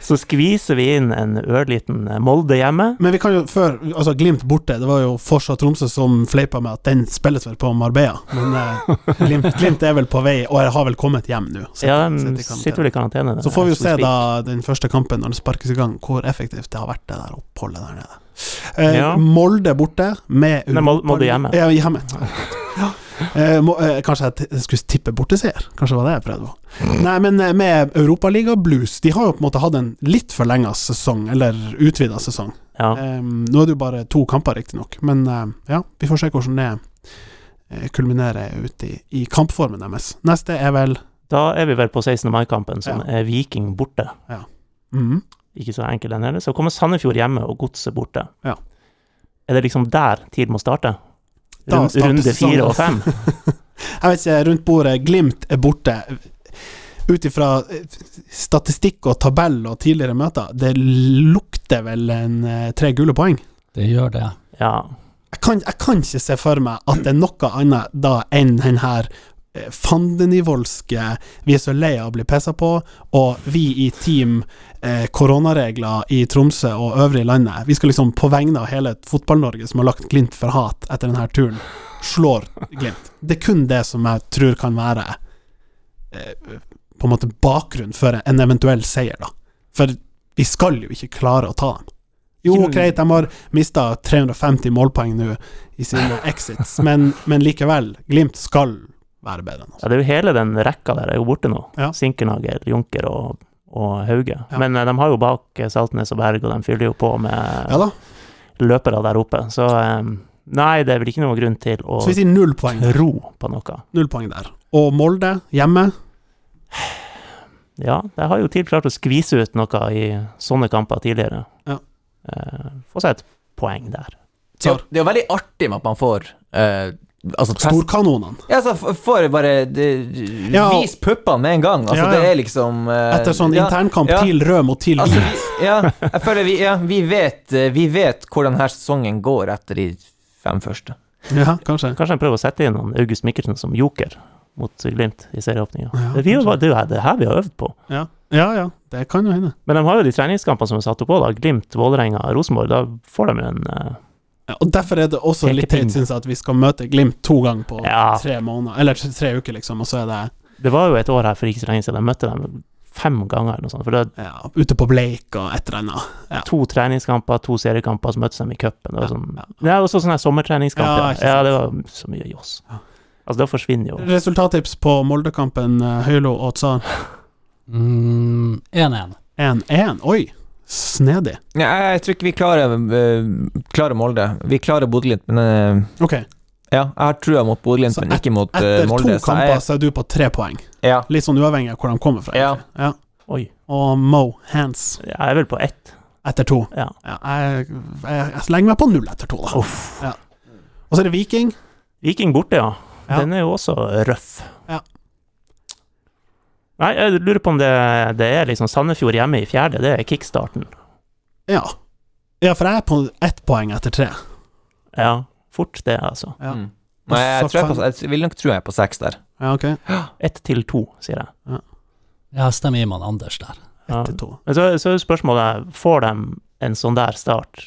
S1: Så skviser vi inn en ørliten eh, Molde hjemme.
S2: Men vi kan jo før Altså, Glimt borte. Det var jo Forsa Tromsø som fleipa med at den spilles vel på Marbella. Men eh, Glimt, Glimt er vel på vei, og har vel kommet hjem nå. sitter-
S1: Ja,
S2: sitter i
S1: de
S2: karantene.
S1: sitter vel i karantene.
S2: Så får vi jo
S1: som
S2: se
S1: speak.
S2: da den første kampen når det sparkes i gang, hvor effektivt det har vært det der oppholdet der nede. Eh,
S1: Ja.
S2: Molde borte med
S1: Nei, Mol- Molde hjemme.
S2: Ja, hjemme. Ja. Eh, må, eh, kanskje jeg, t jeg skulle tippe borteseier? Kanskje det var det jeg prøvde på. Nei, men eh, med Europaliga Blues De har jo på en måte hatt en litt forlenga sesong, eller utvida sesong.
S1: Ja.
S2: Eh, nå er det jo bare to kamper, riktignok, men eh, ja, vi får se hvordan det eh, kulminerer ut i, i kampformen deres. Neste er vel
S1: Da er vi vel på 16. mai-kampen, som er Viking borte.
S2: Mhm.
S1: Ikke så enkel den heller. Så kommer Sandefjord hjemme og Godset borte.
S2: Ja.
S1: Er det liksom der tid må starte?
S2: Da
S1: Rund,
S2: starter
S1: runde
S2: sesongen.
S1: fire og fem?
S2: Jeg vet ikke, rundt bordet, Glimt er borte. Ut ifra eh, statistikk og tabell og tidligere møter, det lukter vel en eh, tre gule poeng.
S4: Det gjør det.
S1: Ja.
S2: Jeg kan, jeg kan ikke se for meg at det er noe annet da enn den her eh, fandenivoldske Vi er så lei av å bli pissa på, og vi i team eh, koronaregler i Tromsø og øvrige landet Vi skal liksom på vegne av hele Fotball-Norge, som har lagt Glimt for hat etter denne turen, slår Glimt. Det er kun det som jeg tror kan være eh, på en måte bakgrunn for en eventuell seier, da. For vi skal jo ikke klare å ta dem. Jo,
S1: Ikke noe-
S2: greit, de har mista 350 målpoeng nå i sine exits, men, men likevel, Glimt skal være bedre enn oss.
S1: ja, det er jo hele den rekka der er jo borte nå.
S2: Ja.
S1: Sinkernager, Junker og, og Hauge.
S2: Ja.
S1: Men eh, de har jo bak eh, Saltnes og Berg, og de fyller jo på med
S2: Ja da,
S1: løpere der oppe. Så eh, nei, det er vel ikke noen grunn til å
S2: så vi sier null poeng.
S1: tro på noe.
S2: Null poeng der. Og Molde hjemme,
S1: Ja, de har jo TIL klart å skvise ut noe i sånne kamper tidligere.
S2: Ja.
S1: Eh, få seg et poeng der.
S3: Det er jo- det er jo veldig artig med at man får eh, Altså, test-
S2: storkanonene.
S3: Ja, så f- får jeg bare det-
S2: Ja, og-
S3: Vis puppene med en gang. Altså,
S2: Ja, ja.
S3: det er liksom eh,
S2: Etter sånn
S3: ja,
S2: internkamp,
S3: ja.
S2: TIL rød mot TIL
S3: Altså,
S2: hvit.
S3: vi- ja, jeg føler vi, ja, vi vet eh, Vi vet hvordan her sesongen går etter de fem første.
S2: Ja, kanskje.
S1: Kanskje de prøver å sette inn han August Mikkelsen som joker mot Glimt i serieåpninga.
S2: Ja,
S1: det, er vi jo bare- det er jo her- det er her vi har øvd på.
S2: Ja. ja ja, det kan jo hende.
S1: Men de har jo de treningskampene som er satt opp òg, da. Glimt, Vålerenga, Rosenborg. Da får de jo en eh,
S2: Ja, og Derfor er det også litt
S1: Pekepinn.
S2: teit, syns jeg, at vi skal møte Glimt to ganger på
S1: Ja.
S2: tre måneder Eller tre- tre uker, liksom, og så er det
S1: Det var jo et år her for ikke så lenge siden de møtte dem fem ganger eller noe sånt. For det er
S2: ja, ute på Bleik og et eller annet.
S1: to treningskamper, to seriekamper, så møttes de i cupen. Det var
S2: Ja,
S1: sånn,
S2: ja.
S1: det er også sånn her sommertreningskamp.
S2: Ja,
S1: Ja,
S2: ikke
S1: ja,
S2: sant.
S1: det var så mye joss.
S2: Ja.
S1: Altså, da forsvinner jo
S2: Resultattips på Moldekampen eh, Høylo og Tsar
S4: Mm, 1-1.
S2: 1-1. Oi, snedig.
S3: Ja, jeg, jeg tror ikke vi klarer, eh, klarer Molde. Vi klarer Bodø-Glimt, men eh,
S2: Ok,
S3: Ja, jeg har trua mot Bodø-Glimt,
S2: Så
S3: men ikke mot eh,
S2: etter
S3: Molde.
S2: to kamper så er du på tre poeng.
S3: jeg, ja.
S2: Litt sånn uavhengig av hvor de kommer fra.
S3: Ja.
S2: egentlig. Ja.
S1: Oi,
S2: Og Mo Hands
S1: jeg er vel på ett.
S2: etter to.
S1: Ja.
S2: Ja, jeg, jeg, jeg slenger meg på null etter to, da.
S1: Uff.
S2: Ja. Og så er det Viking.
S1: Viking borte, ja.
S2: Ja.
S1: Den er jo også røff.
S2: Ja.
S1: Nei, jeg lurer på om det, det er liksom Sandefjord hjemme i fjerde, det er kickstarten.
S2: Ja. ja, for jeg er på ett poeng etter tre.
S1: Ja, fort det, altså.
S2: Ja.
S3: Mm. Nei, jeg,
S2: Så
S3: tror jeg,
S2: kan-
S3: på, jeg vil nok tro jeg er på seks der.
S2: Ja, ok.
S1: Ett til to, sier jeg.
S4: Ja, stemmer Iman Anders der.
S1: Ja.
S2: Ett til to.
S1: Men så, så er spørsmålet, får de en sånn der start,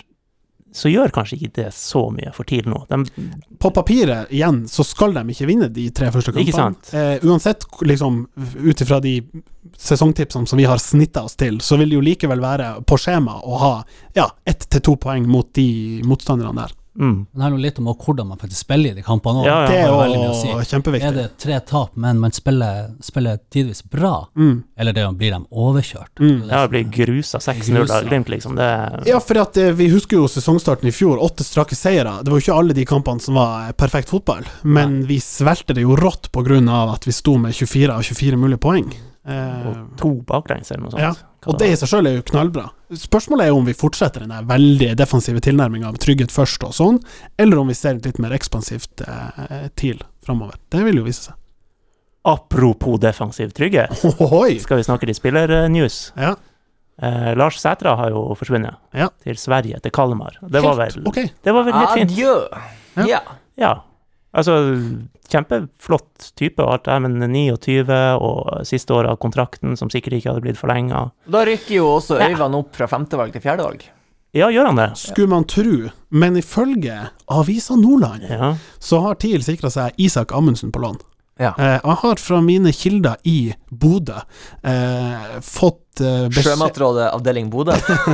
S1: så gjør kanskje ikke det så mye for TIL nå. De,
S2: På papiret, igjen, så skal de ikke vinne de tre første kampene.
S1: Ikke sant.
S2: Eh, uansett, liksom, ut ifra de sesongtipsene som vi har snitta oss til, så vil det jo likevel være på skjema å ha ja, ett til to poeng mot de motstanderne der.
S1: mm,
S4: Men det handler jo litt om hvordan man faktisk spiller i de kampene òg.
S1: Ja, ja.
S2: Det
S1: har
S2: er
S4: jo
S2: jo
S4: veldig mye å si.
S2: kjempeviktig.
S4: Er det tre tap, men man spiller, spiller tidvis bra,
S2: Mm.
S4: eller det blir de overkjørt?
S2: Mm.
S1: ja, blir grusa 6-0 av
S4: Grusa.
S1: Glimt, liksom. Det,
S2: Ja, for at eh, vi husker jo sesongstarten i fjor. Åtte strake seire. Det var jo ikke alle de kampene som var eh, perfekt fotball, men vi svelgte det jo rått på grunn av at vi sto med 24 av 24 mulige poeng. Eh,
S1: og to baklengs eller noe sånt.
S2: Ja,
S1: Hva
S2: og det i seg sjøl er jo knallbra. Spørsmålet er jo om vi fortsetter den der veldig defensive tilnærminga av trygghet først og sånn, eller om vi ser litt mer ekspansivt eh, TIL framover. Det vil jo vise seg.
S1: Apropos defensiv trygghet,
S2: Ohoi!
S1: skal vi snakke til spillernews.
S2: Ja.
S1: Eh, Lars Sætra har jo forsvunnet
S2: Ja.
S1: til Sverige, til Kalmar. Det var vel,
S2: Ok.
S1: det var vel helt fint.
S3: Adjø!
S2: Ja.
S3: Ja.
S1: Ja. Altså, kjempeflott type og alt det her, men 29 og siste året av kontrakten, som sikkert ikke hadde blitt forlenga.
S3: Da rykker jo også Øyvand opp fra femtevalg til fjerdevalg.
S1: Ja, gjør han det?
S2: Skulle man tru, men ifølge Avisa Nordland
S1: Ja.
S2: så har TIL sikra seg Isak Amundsen på lån.
S3: Ja.
S2: Eh, jeg har fra mine kilder i Bodø eh, fått eh, beskjed
S3: Sjømatrådet avdeling Bodø.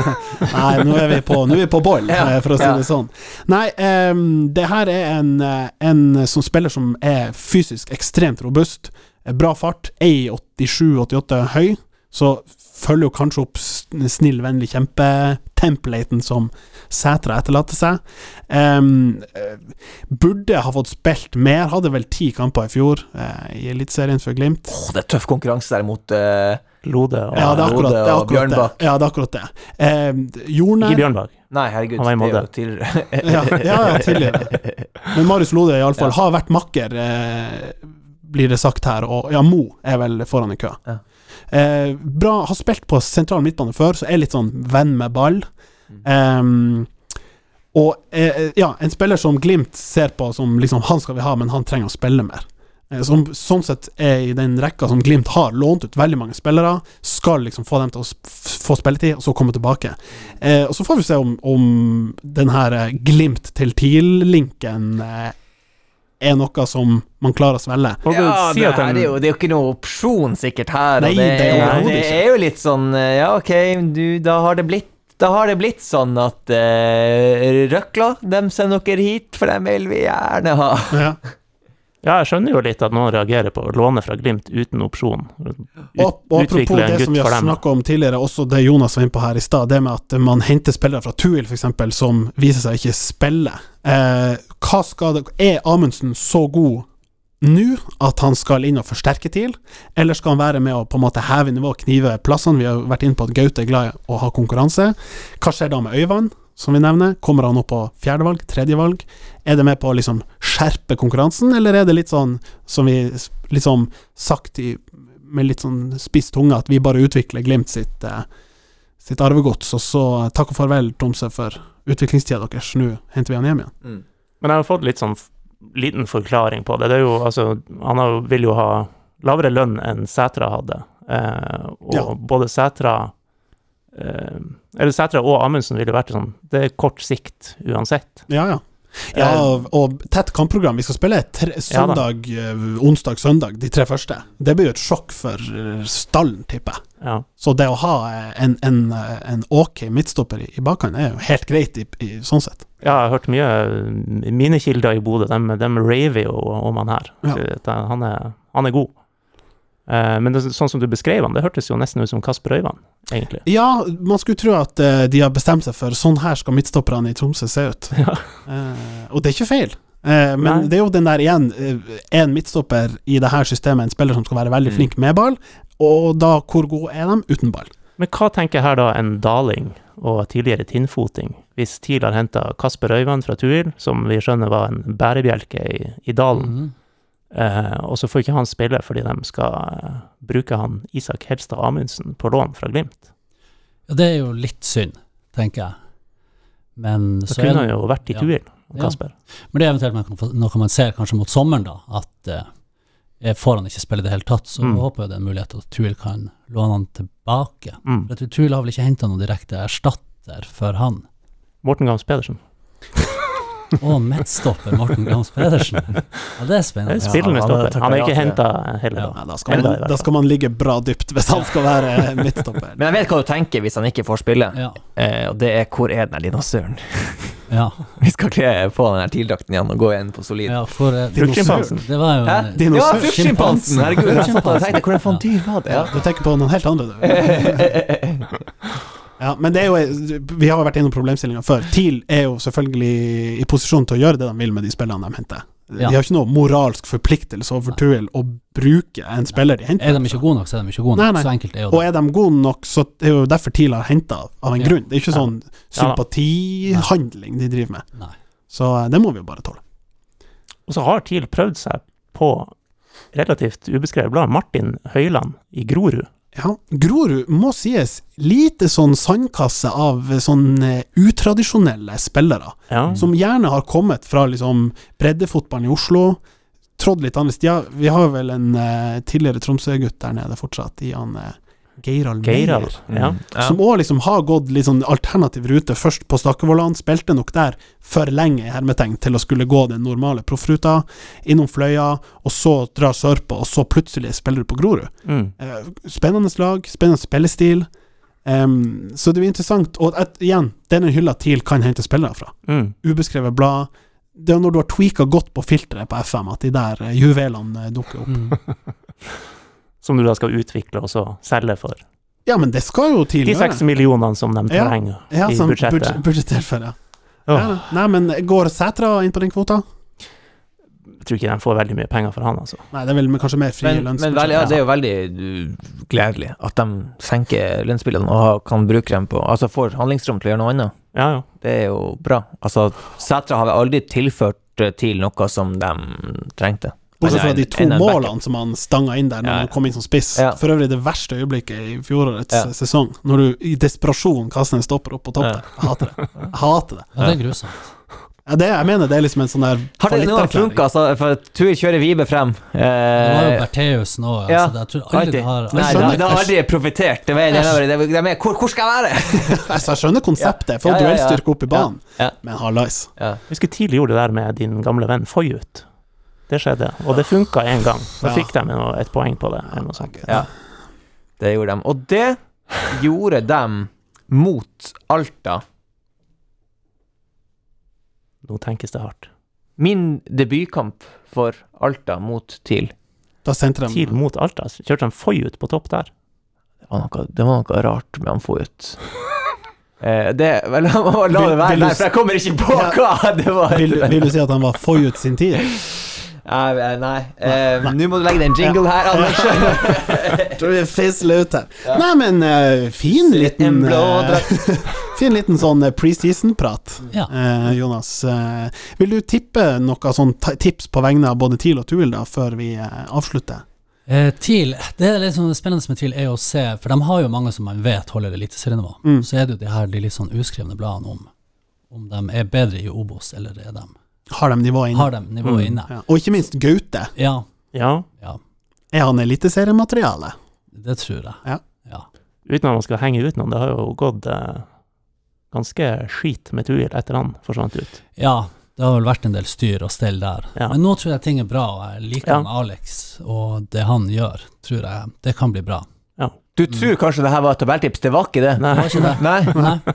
S2: Nei, nå er vi på, nå er vi på boil,
S3: Ja,
S2: eh, for å si
S3: ja.
S2: det sånn. Nei, em, det her er en, eh, en som spiller som er fysisk ekstremt robust. eh, Bra fart. 1,87-88 høy. Så følger jo kanskje opp s- snill, vennlig kjempe-templaten som Sætra etterlater seg. Em, eh, burde ha fått spilt mer. Hadde vel ti kamper i fjor eh, i Eliteserien for Glimt.
S3: Åh, det er tøff konkurranse der mot eh,
S1: Lode og
S2: Ja, det er akkurat det. Er
S3: Lode og
S2: akkurat det.
S3: Bjørnbakk.
S2: Ja, det, er akkurat det. Eh, Jorne
S1: Ikke Bjørnbakk.
S3: Nei, herregud.
S1: Han var i Molde.
S3: Det er jo tidligere.
S2: ja, ja, ja, tidligere. Men Marius Lode i alle fall har vært makker, eh, blir det sagt her. Og ja, Mo er vel foran i køa.
S3: Ja.
S2: Eh, bra, har spilt på sentral midtbane før, så er litt sånn venn med ball. Ehm, og eh, ja, en spiller som Glimt ser på som liksom Han skal vi ha, men han trenger å spille mer. Eh, Som sånn sett er i den rekka som Glimt har lånt ut veldig mange spillere, skal liksom få dem til å sp- f- få spilletid, og så komme tilbake. Eh, og så får vi se om, om den her eh, Glimt til TIL-linken eh, er noe som man klarer å svelge.
S1: Må du
S3: Ja,
S1: si
S3: det,
S1: at
S3: her
S1: den-
S3: er jo, det er jo ikke noe opsjon sikkert her.
S2: Nei,
S3: og det,
S2: det er
S3: er,
S1: overhodet
S3: det
S2: ikke.
S3: er jo litt sånn eh, Ja, ok, du, da har det blitt da har det blitt sånn at eh, Røkla, dem sender dere hit, for dem vil vi gjerne ha.
S2: Ja.
S1: Ja, jeg skånner jo litt at noen reagerer på å låne fra Glimt uten opsjon. Ut,
S2: Og, og apropos
S1: utvikle en
S2: det som
S1: gutt
S2: vi
S1: for
S2: har
S1: dem.
S2: snakka om tidligere, også det Jonas var inne på her i stad, det med at man henter spillere fra Tuil f.eks. som viser seg ikke spille. Eh, hva skal det, er Amundsen så god nå at han skal inn og forsterke TIL, eller skal han være med å på en måte heve nivået, knive plassene? Vi har jo vært inne på at Gaute er glad i å ha konkurranse. Hva skjer da med Øyvand, som vi nevner? Kommer han opp på fjerdevalg, tredjevalg? Er det med på å liksom skjerpe konkurransen, eller er det litt sånn som vi s- liksom sagt i med litt sånn spiss tunge at vi bare utvikler Glimt sitt, eh, sitt arvegods, og så eh, takk og farvel, Tromsø, for utviklingstida deres. Nå henter vi han hjem igjen.
S1: Men jeg har fått litt sånn f- liten forklaring på det. Det er jo, altså, han har, jo- vil jo ha lavere lønn enn Sætra hadde. Eh, og
S2: Ja.
S1: både Sætra eh, Eller Sætra og Amundsen ville vært sånn Det er kort sikt uansett. Eh,
S2: Ja, ja. Ja, og, og tett kampprogram. Vi skal spille tre,
S1: Ja da.
S2: søndag, eh, onsdag, søndag, de tre første. Det blir jo et sjokk for eh, stallen, tipper jeg.
S1: Ja.
S2: Så det å ha eh, en, en, eh, en ok midtstopper i, i bakhånd er jo helt greit, i, i, sånn sett.
S1: ja, jeg har hørt mye eh, Mine kilder i Bodø, dem, dem raver jo om han her.
S2: Ja.
S1: At eh, Han, er, han er god. Eh, men det, sånn som du beskrev han, det hørtes jo nesten ut som Kasper Øyvand, egentlig.
S2: Ja, man skulle tro at eh, de har bestemt seg for sånn her skal midtstopperne i Tromsø se ut.
S1: Ja.
S2: Eh, og det er ikke feil. Eh, men
S1: Nei.
S2: det er jo den der igjen, én midtstopper i det her systemet, en spiller som skal være
S4: Mm.
S2: veldig flink med ball, og da hvor god er de uten ball?
S1: Men hva tenker her da en daling og tidligere tinnfoting, hvis TIL har henta Kasper Øyvand fra Tuil, som vi skjønner var en bærebjelke i, i dalen,
S4: Mhm.
S1: eh, og så får ikke han spille fordi de skal eh, bruke han Isak Helstad Amundsen på lån fra Glimt?
S4: Ja, det er jo litt synd, tenker jeg. Men
S1: Da
S4: så
S1: kunne
S4: er
S1: han jo vært i
S4: ja.
S1: Tuil,
S4: Ja.
S1: Kasper.
S4: Men det er eventuelt man kan få- noe man ser kanskje mot sommeren, da. At eh, får han ikke spille i det hele tatt, så
S1: Mm.
S4: håper jeg det er en mulighet at Tuil kan låne han tilbake.
S1: Mm.
S4: For jeg tror Tuil har vel ikke henta noen direkte erstatter for han.
S1: Morten Gams Pedersen.
S4: Og midtstopper Morten Grams Pedersen. Ja, det er
S1: Det er
S4: spennende.
S1: spillende
S3: han har
S1: stopper. Han er ikke
S3: takket ja til
S1: henta heller,
S4: Ja.
S1: da.
S2: Nei, da, skal
S1: Enda i
S2: man,
S1: hvert
S2: da skal man ligge bra dypt hvis han skal være midtstopper.
S3: Men jeg vet hva du tenker hvis han ikke får spille,
S4: Ja.
S3: eh, og det er hvor er den der dinosauren?
S4: ja.
S3: Vi skal kle på den der tildrakten igjen og gå igjen på solid.
S4: ja for, eh,
S1: Fruktsjimpansen.
S4: Det var jo
S3: Hæ?
S4: en-
S3: Ja, eh,
S2: Dinosaur.
S3: fruktsjimpansen! Herregud, jeg satt og tenkte hvordan faen
S4: Ja.
S3: dyr var det? Ja.
S2: Du tenker på noen helt andre, du. Ja, men det er jo Vi har jo vært innom problemstillinga før. TIL er jo selvfølgelig i posisjon til å gjøre det de vil med de spillene de henter. De
S4: Ja.
S2: har ikke noe moralsk forpliktelse overfor Tuil å bruke en spiller de henter.
S4: Er de ikke gode nok, så er de ikke gode nok.
S2: Nei, nei.
S4: Så enkelt er jo
S2: Og
S4: det.
S2: er de gode nok, så er jo derfor TIL har henta av en
S4: Ja.
S2: grunn. Det er ikke
S1: Ja.
S2: sånn
S1: Ja da.
S2: sympatihandling de driver med.
S4: Nei.
S2: Så eh, det må vi jo bare tåle.
S1: Og så har TIL prøvd seg på relativt ubeskrevet blad, Martin Høyland i Grorud.
S2: Ja, Grorud må sies lite sånn sandkasse av sånn eh, utradisjonelle spillere,
S1: Ja.
S2: som gjerne har kommet fra liksom breddefotballen i Oslo, trådd litt annerledes. Ja, vi har vel en eh, tidligere Tromsø-gutt der nede fortsatt, i han eh, Geiral Meyer.
S1: Geiral. altså.
S3: Mm.
S1: Ja.
S2: Som òg liksom har gått litt sånn alternativ rute, først på Stakkevollan, spilte nok der for lenge i hermetegn til å skulle gå den normale proffruta, innom Fløya, og så dra sørpå, og så plutselig spiller du på Grorud.
S1: Mm.
S2: Eh, spennende slag, spennende spillestil. Em, så det blir interessant. Og at, igjen, denne hylla TIL kan hente spillere fra.
S1: Mm.
S2: Ubeskrevet blad. Det er når du har tweaka godt på filteret på FM, at de der eh, juvelene eh, dukker opp.
S4: Mm.
S1: Som du da skal utvikle og så selge for.
S2: Ja, men det skal jo TIL
S1: De seks
S2: gjøre.
S1: millionene som de trenger
S2: Ja,
S1: i
S2: sånn
S1: budsjettet.
S2: budget- Budsjettert for, ja.
S1: Åh,
S2: ja. Nei, men går Sætra inn på den kvota?
S1: jeg tror ikke de får veldig mye penger for han, altså.
S2: Nei, det er vel med kanskje mer frie
S3: Men, men veldig, ja,
S2: lønnsbudsjett.
S3: det er jo veldig uh, gledelig at de senker lønnsspillene og har- kan bruke dem på Altså får handlingsrom til å gjøre noe annet.
S1: Ja, ja.
S3: Det er jo bra. Altså, Sætra har vel aldri tilført eh, til noe som de trengte.
S2: Bortsett fra
S3: Men
S2: de
S3: en-
S2: to
S3: en- en back-
S2: målene som han stanga inn der når
S3: Ja, ja.
S2: han kom inn som spiss.
S3: Ja.
S2: For øvrig det verste øyeblikket i fjorårets
S3: Ja.
S2: eh, sesong, når du i desperasjon kaster en stopper opp på topp
S3: Ja.
S2: der. Jeg hater det. Jeg hater det.
S4: Ja, det er grusomt.
S2: Ja, det jeg mener, det er liksom en sånn der
S3: Har det noen
S2: fallitterklæring.
S3: funka, altså? For tur kjører Vibe frem.
S4: Det var jo
S3: Eh,
S4: Bertheussen òg,
S3: ja,
S4: altså. Jeg tror aldri
S3: alltid.
S4: det har
S2: Jeg
S3: Nei, det
S2: skjønner.
S3: har- sånn det har aldri profitert. Det var, det var, det var, det var, hvor, hvor skal jeg være?
S2: Altså, jeg skjønner konseptet, få
S3: Ja, ja, ja, ja.
S2: duellstyrke opp i banen,
S3: Ja.
S2: men hallais.
S1: Jeg husker tidlig gjorde det der med din gamle venn Foyut. Det skjedde, og det funka én gang. Da
S2: Ja.
S1: fikk de noe- et poeng på det, eller noe sånt.
S3: Ja. Det gjorde de. Og det gjorde de mot Alta.
S1: Nå tenkes det hardt.
S3: Min debutkamp for Alta mot TIL.
S2: Da sendte de
S1: TIL mot Alta. så Kjørte de Foyut på topp der?
S3: Det var noe, det var noe rart med han Foyut. Eh, det, vel, la, la det
S2: Vil- vil
S3: være
S2: du
S3: der, for jeg kommer ikke på hva det var.
S2: vil, vil du si at han var forut sin tid?
S3: Nei, eh, nei. Eh, Nå må du legge den jingle her, Anders.
S2: Tror vi fisler ut her. Nei, men eh, fin liten
S3: En blå
S2: eh, Fin liten sånn eh, preseason-prat,
S4: Ja.
S2: eh, Jonas. Eh, vil du tippe noe sånn ta- tips på vegne av både TIL og Tuil, da, før vi eh, avslutter?
S4: Eh, TIL, det er litt sånn spennende med TIL, er jo å se For de har jo mange som man vet holder eliteserienivå.
S2: Mm.
S4: Så er det jo de her de litt sånn uskrevne bladene om om de er bedre i Obos, eller er de
S2: Har de nivået inne?
S4: Har de nivået
S1: Mm.
S4: inne?
S2: Ja. Og ikke minst Gaute.
S4: Ja.
S1: Ja,
S4: ja.
S2: Er han eliteseriemateriale?
S4: Det tror jeg.
S2: Ja.
S1: uten at man skal henge ut noen. Det har jo gått eh, ganske skit med Tuil etter han forsvant ut.
S4: Ja, det har vel vært en del styr og stell der.
S1: Ja.
S4: Men nå tror jeg ting er bra, og jeg liker
S1: Ja.
S4: han Alex og det han gjør, tror jeg. Det kan bli bra.
S3: Du tror kanskje det her var et tabelltips? Det var ikke det?
S1: Nei,
S4: Var ikke det?
S3: Nei.
S4: Nei,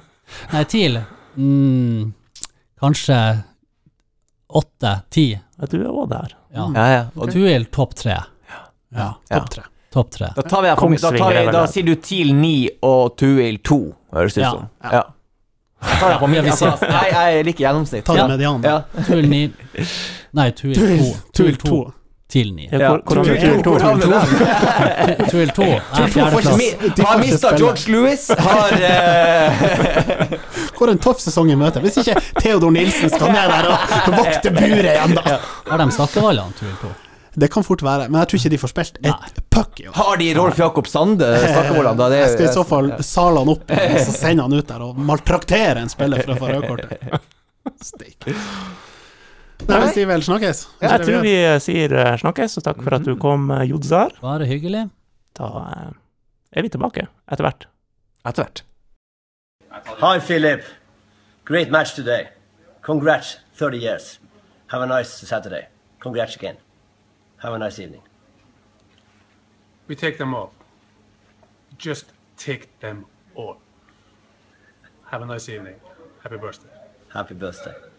S4: Nei TIL mm, Kanskje åtte, ti.
S1: ja, du er òg der.
S4: Ja.
S3: Ja, ja. Og
S4: Du er topp tre. Ja.
S3: Ja.
S2: Topp tre.
S4: Topp tre.
S3: Da tar vi, da tar vi, da,
S1: Kongsvinger er vel der.
S3: sier du TIL 9 og Tuil 2, høres det
S4: Ja.
S3: ut som. Ja. Da tar jeg sånn. på
S4: Ja,
S3: min.
S4: vi
S3: Altså,
S4: sier-
S3: jeg, jeg liker gjennomsnitt.
S2: Ta det
S4: Ja.
S2: medianen.
S3: Ja.
S4: Tuil ni Nei, Tuil to.
S2: Tuil 2.
S4: Til ni.
S1: Ja,
S3: Ja.
S1: hvor- Hvordan
S3: Tuil
S1: blir Tuil
S3: 2,
S1: to?
S3: hvordan blir det?
S4: Tuil to er
S3: Mi-
S4: fjerdeplass.
S2: De får
S3: Har
S2: ikke
S3: mista
S2: spille.
S3: George Louis, har eh,
S2: Hvor en tøff sesong i møte. Hvis ikke Theodor Nilsen skal ned der og vokte buret igjen, da.
S4: Har de Stakkevallene, Tuil to?
S2: Det kan fort være, men jeg tror ikke de får spilt et puck i år.
S3: Har de Rolf Jakob Sande? Snakker Eh, hvordan da? Det
S2: Jeg
S3: er
S2: skal i så fall sale han opp, og så sende han ut der og maltraktere en spiller for å få rødkortet. Steik. Nei, vi sier vel snakkes.
S1: Jeg tror vi eh, sier eh, snakkes, og takk for at du kom, eh, Jodzar.
S4: Bare hyggelig.
S1: Da eh, er vi tilbake etter hvert.
S3: Etter hvert.
S8: Hi, Philip. Great match today. Congrats, 30 years. Have a nice Saturday. Congrats again. Have a nice evening.
S9: We take them all. Just take them all. Have a nice evening. Happy birthday.
S8: Happy birthday.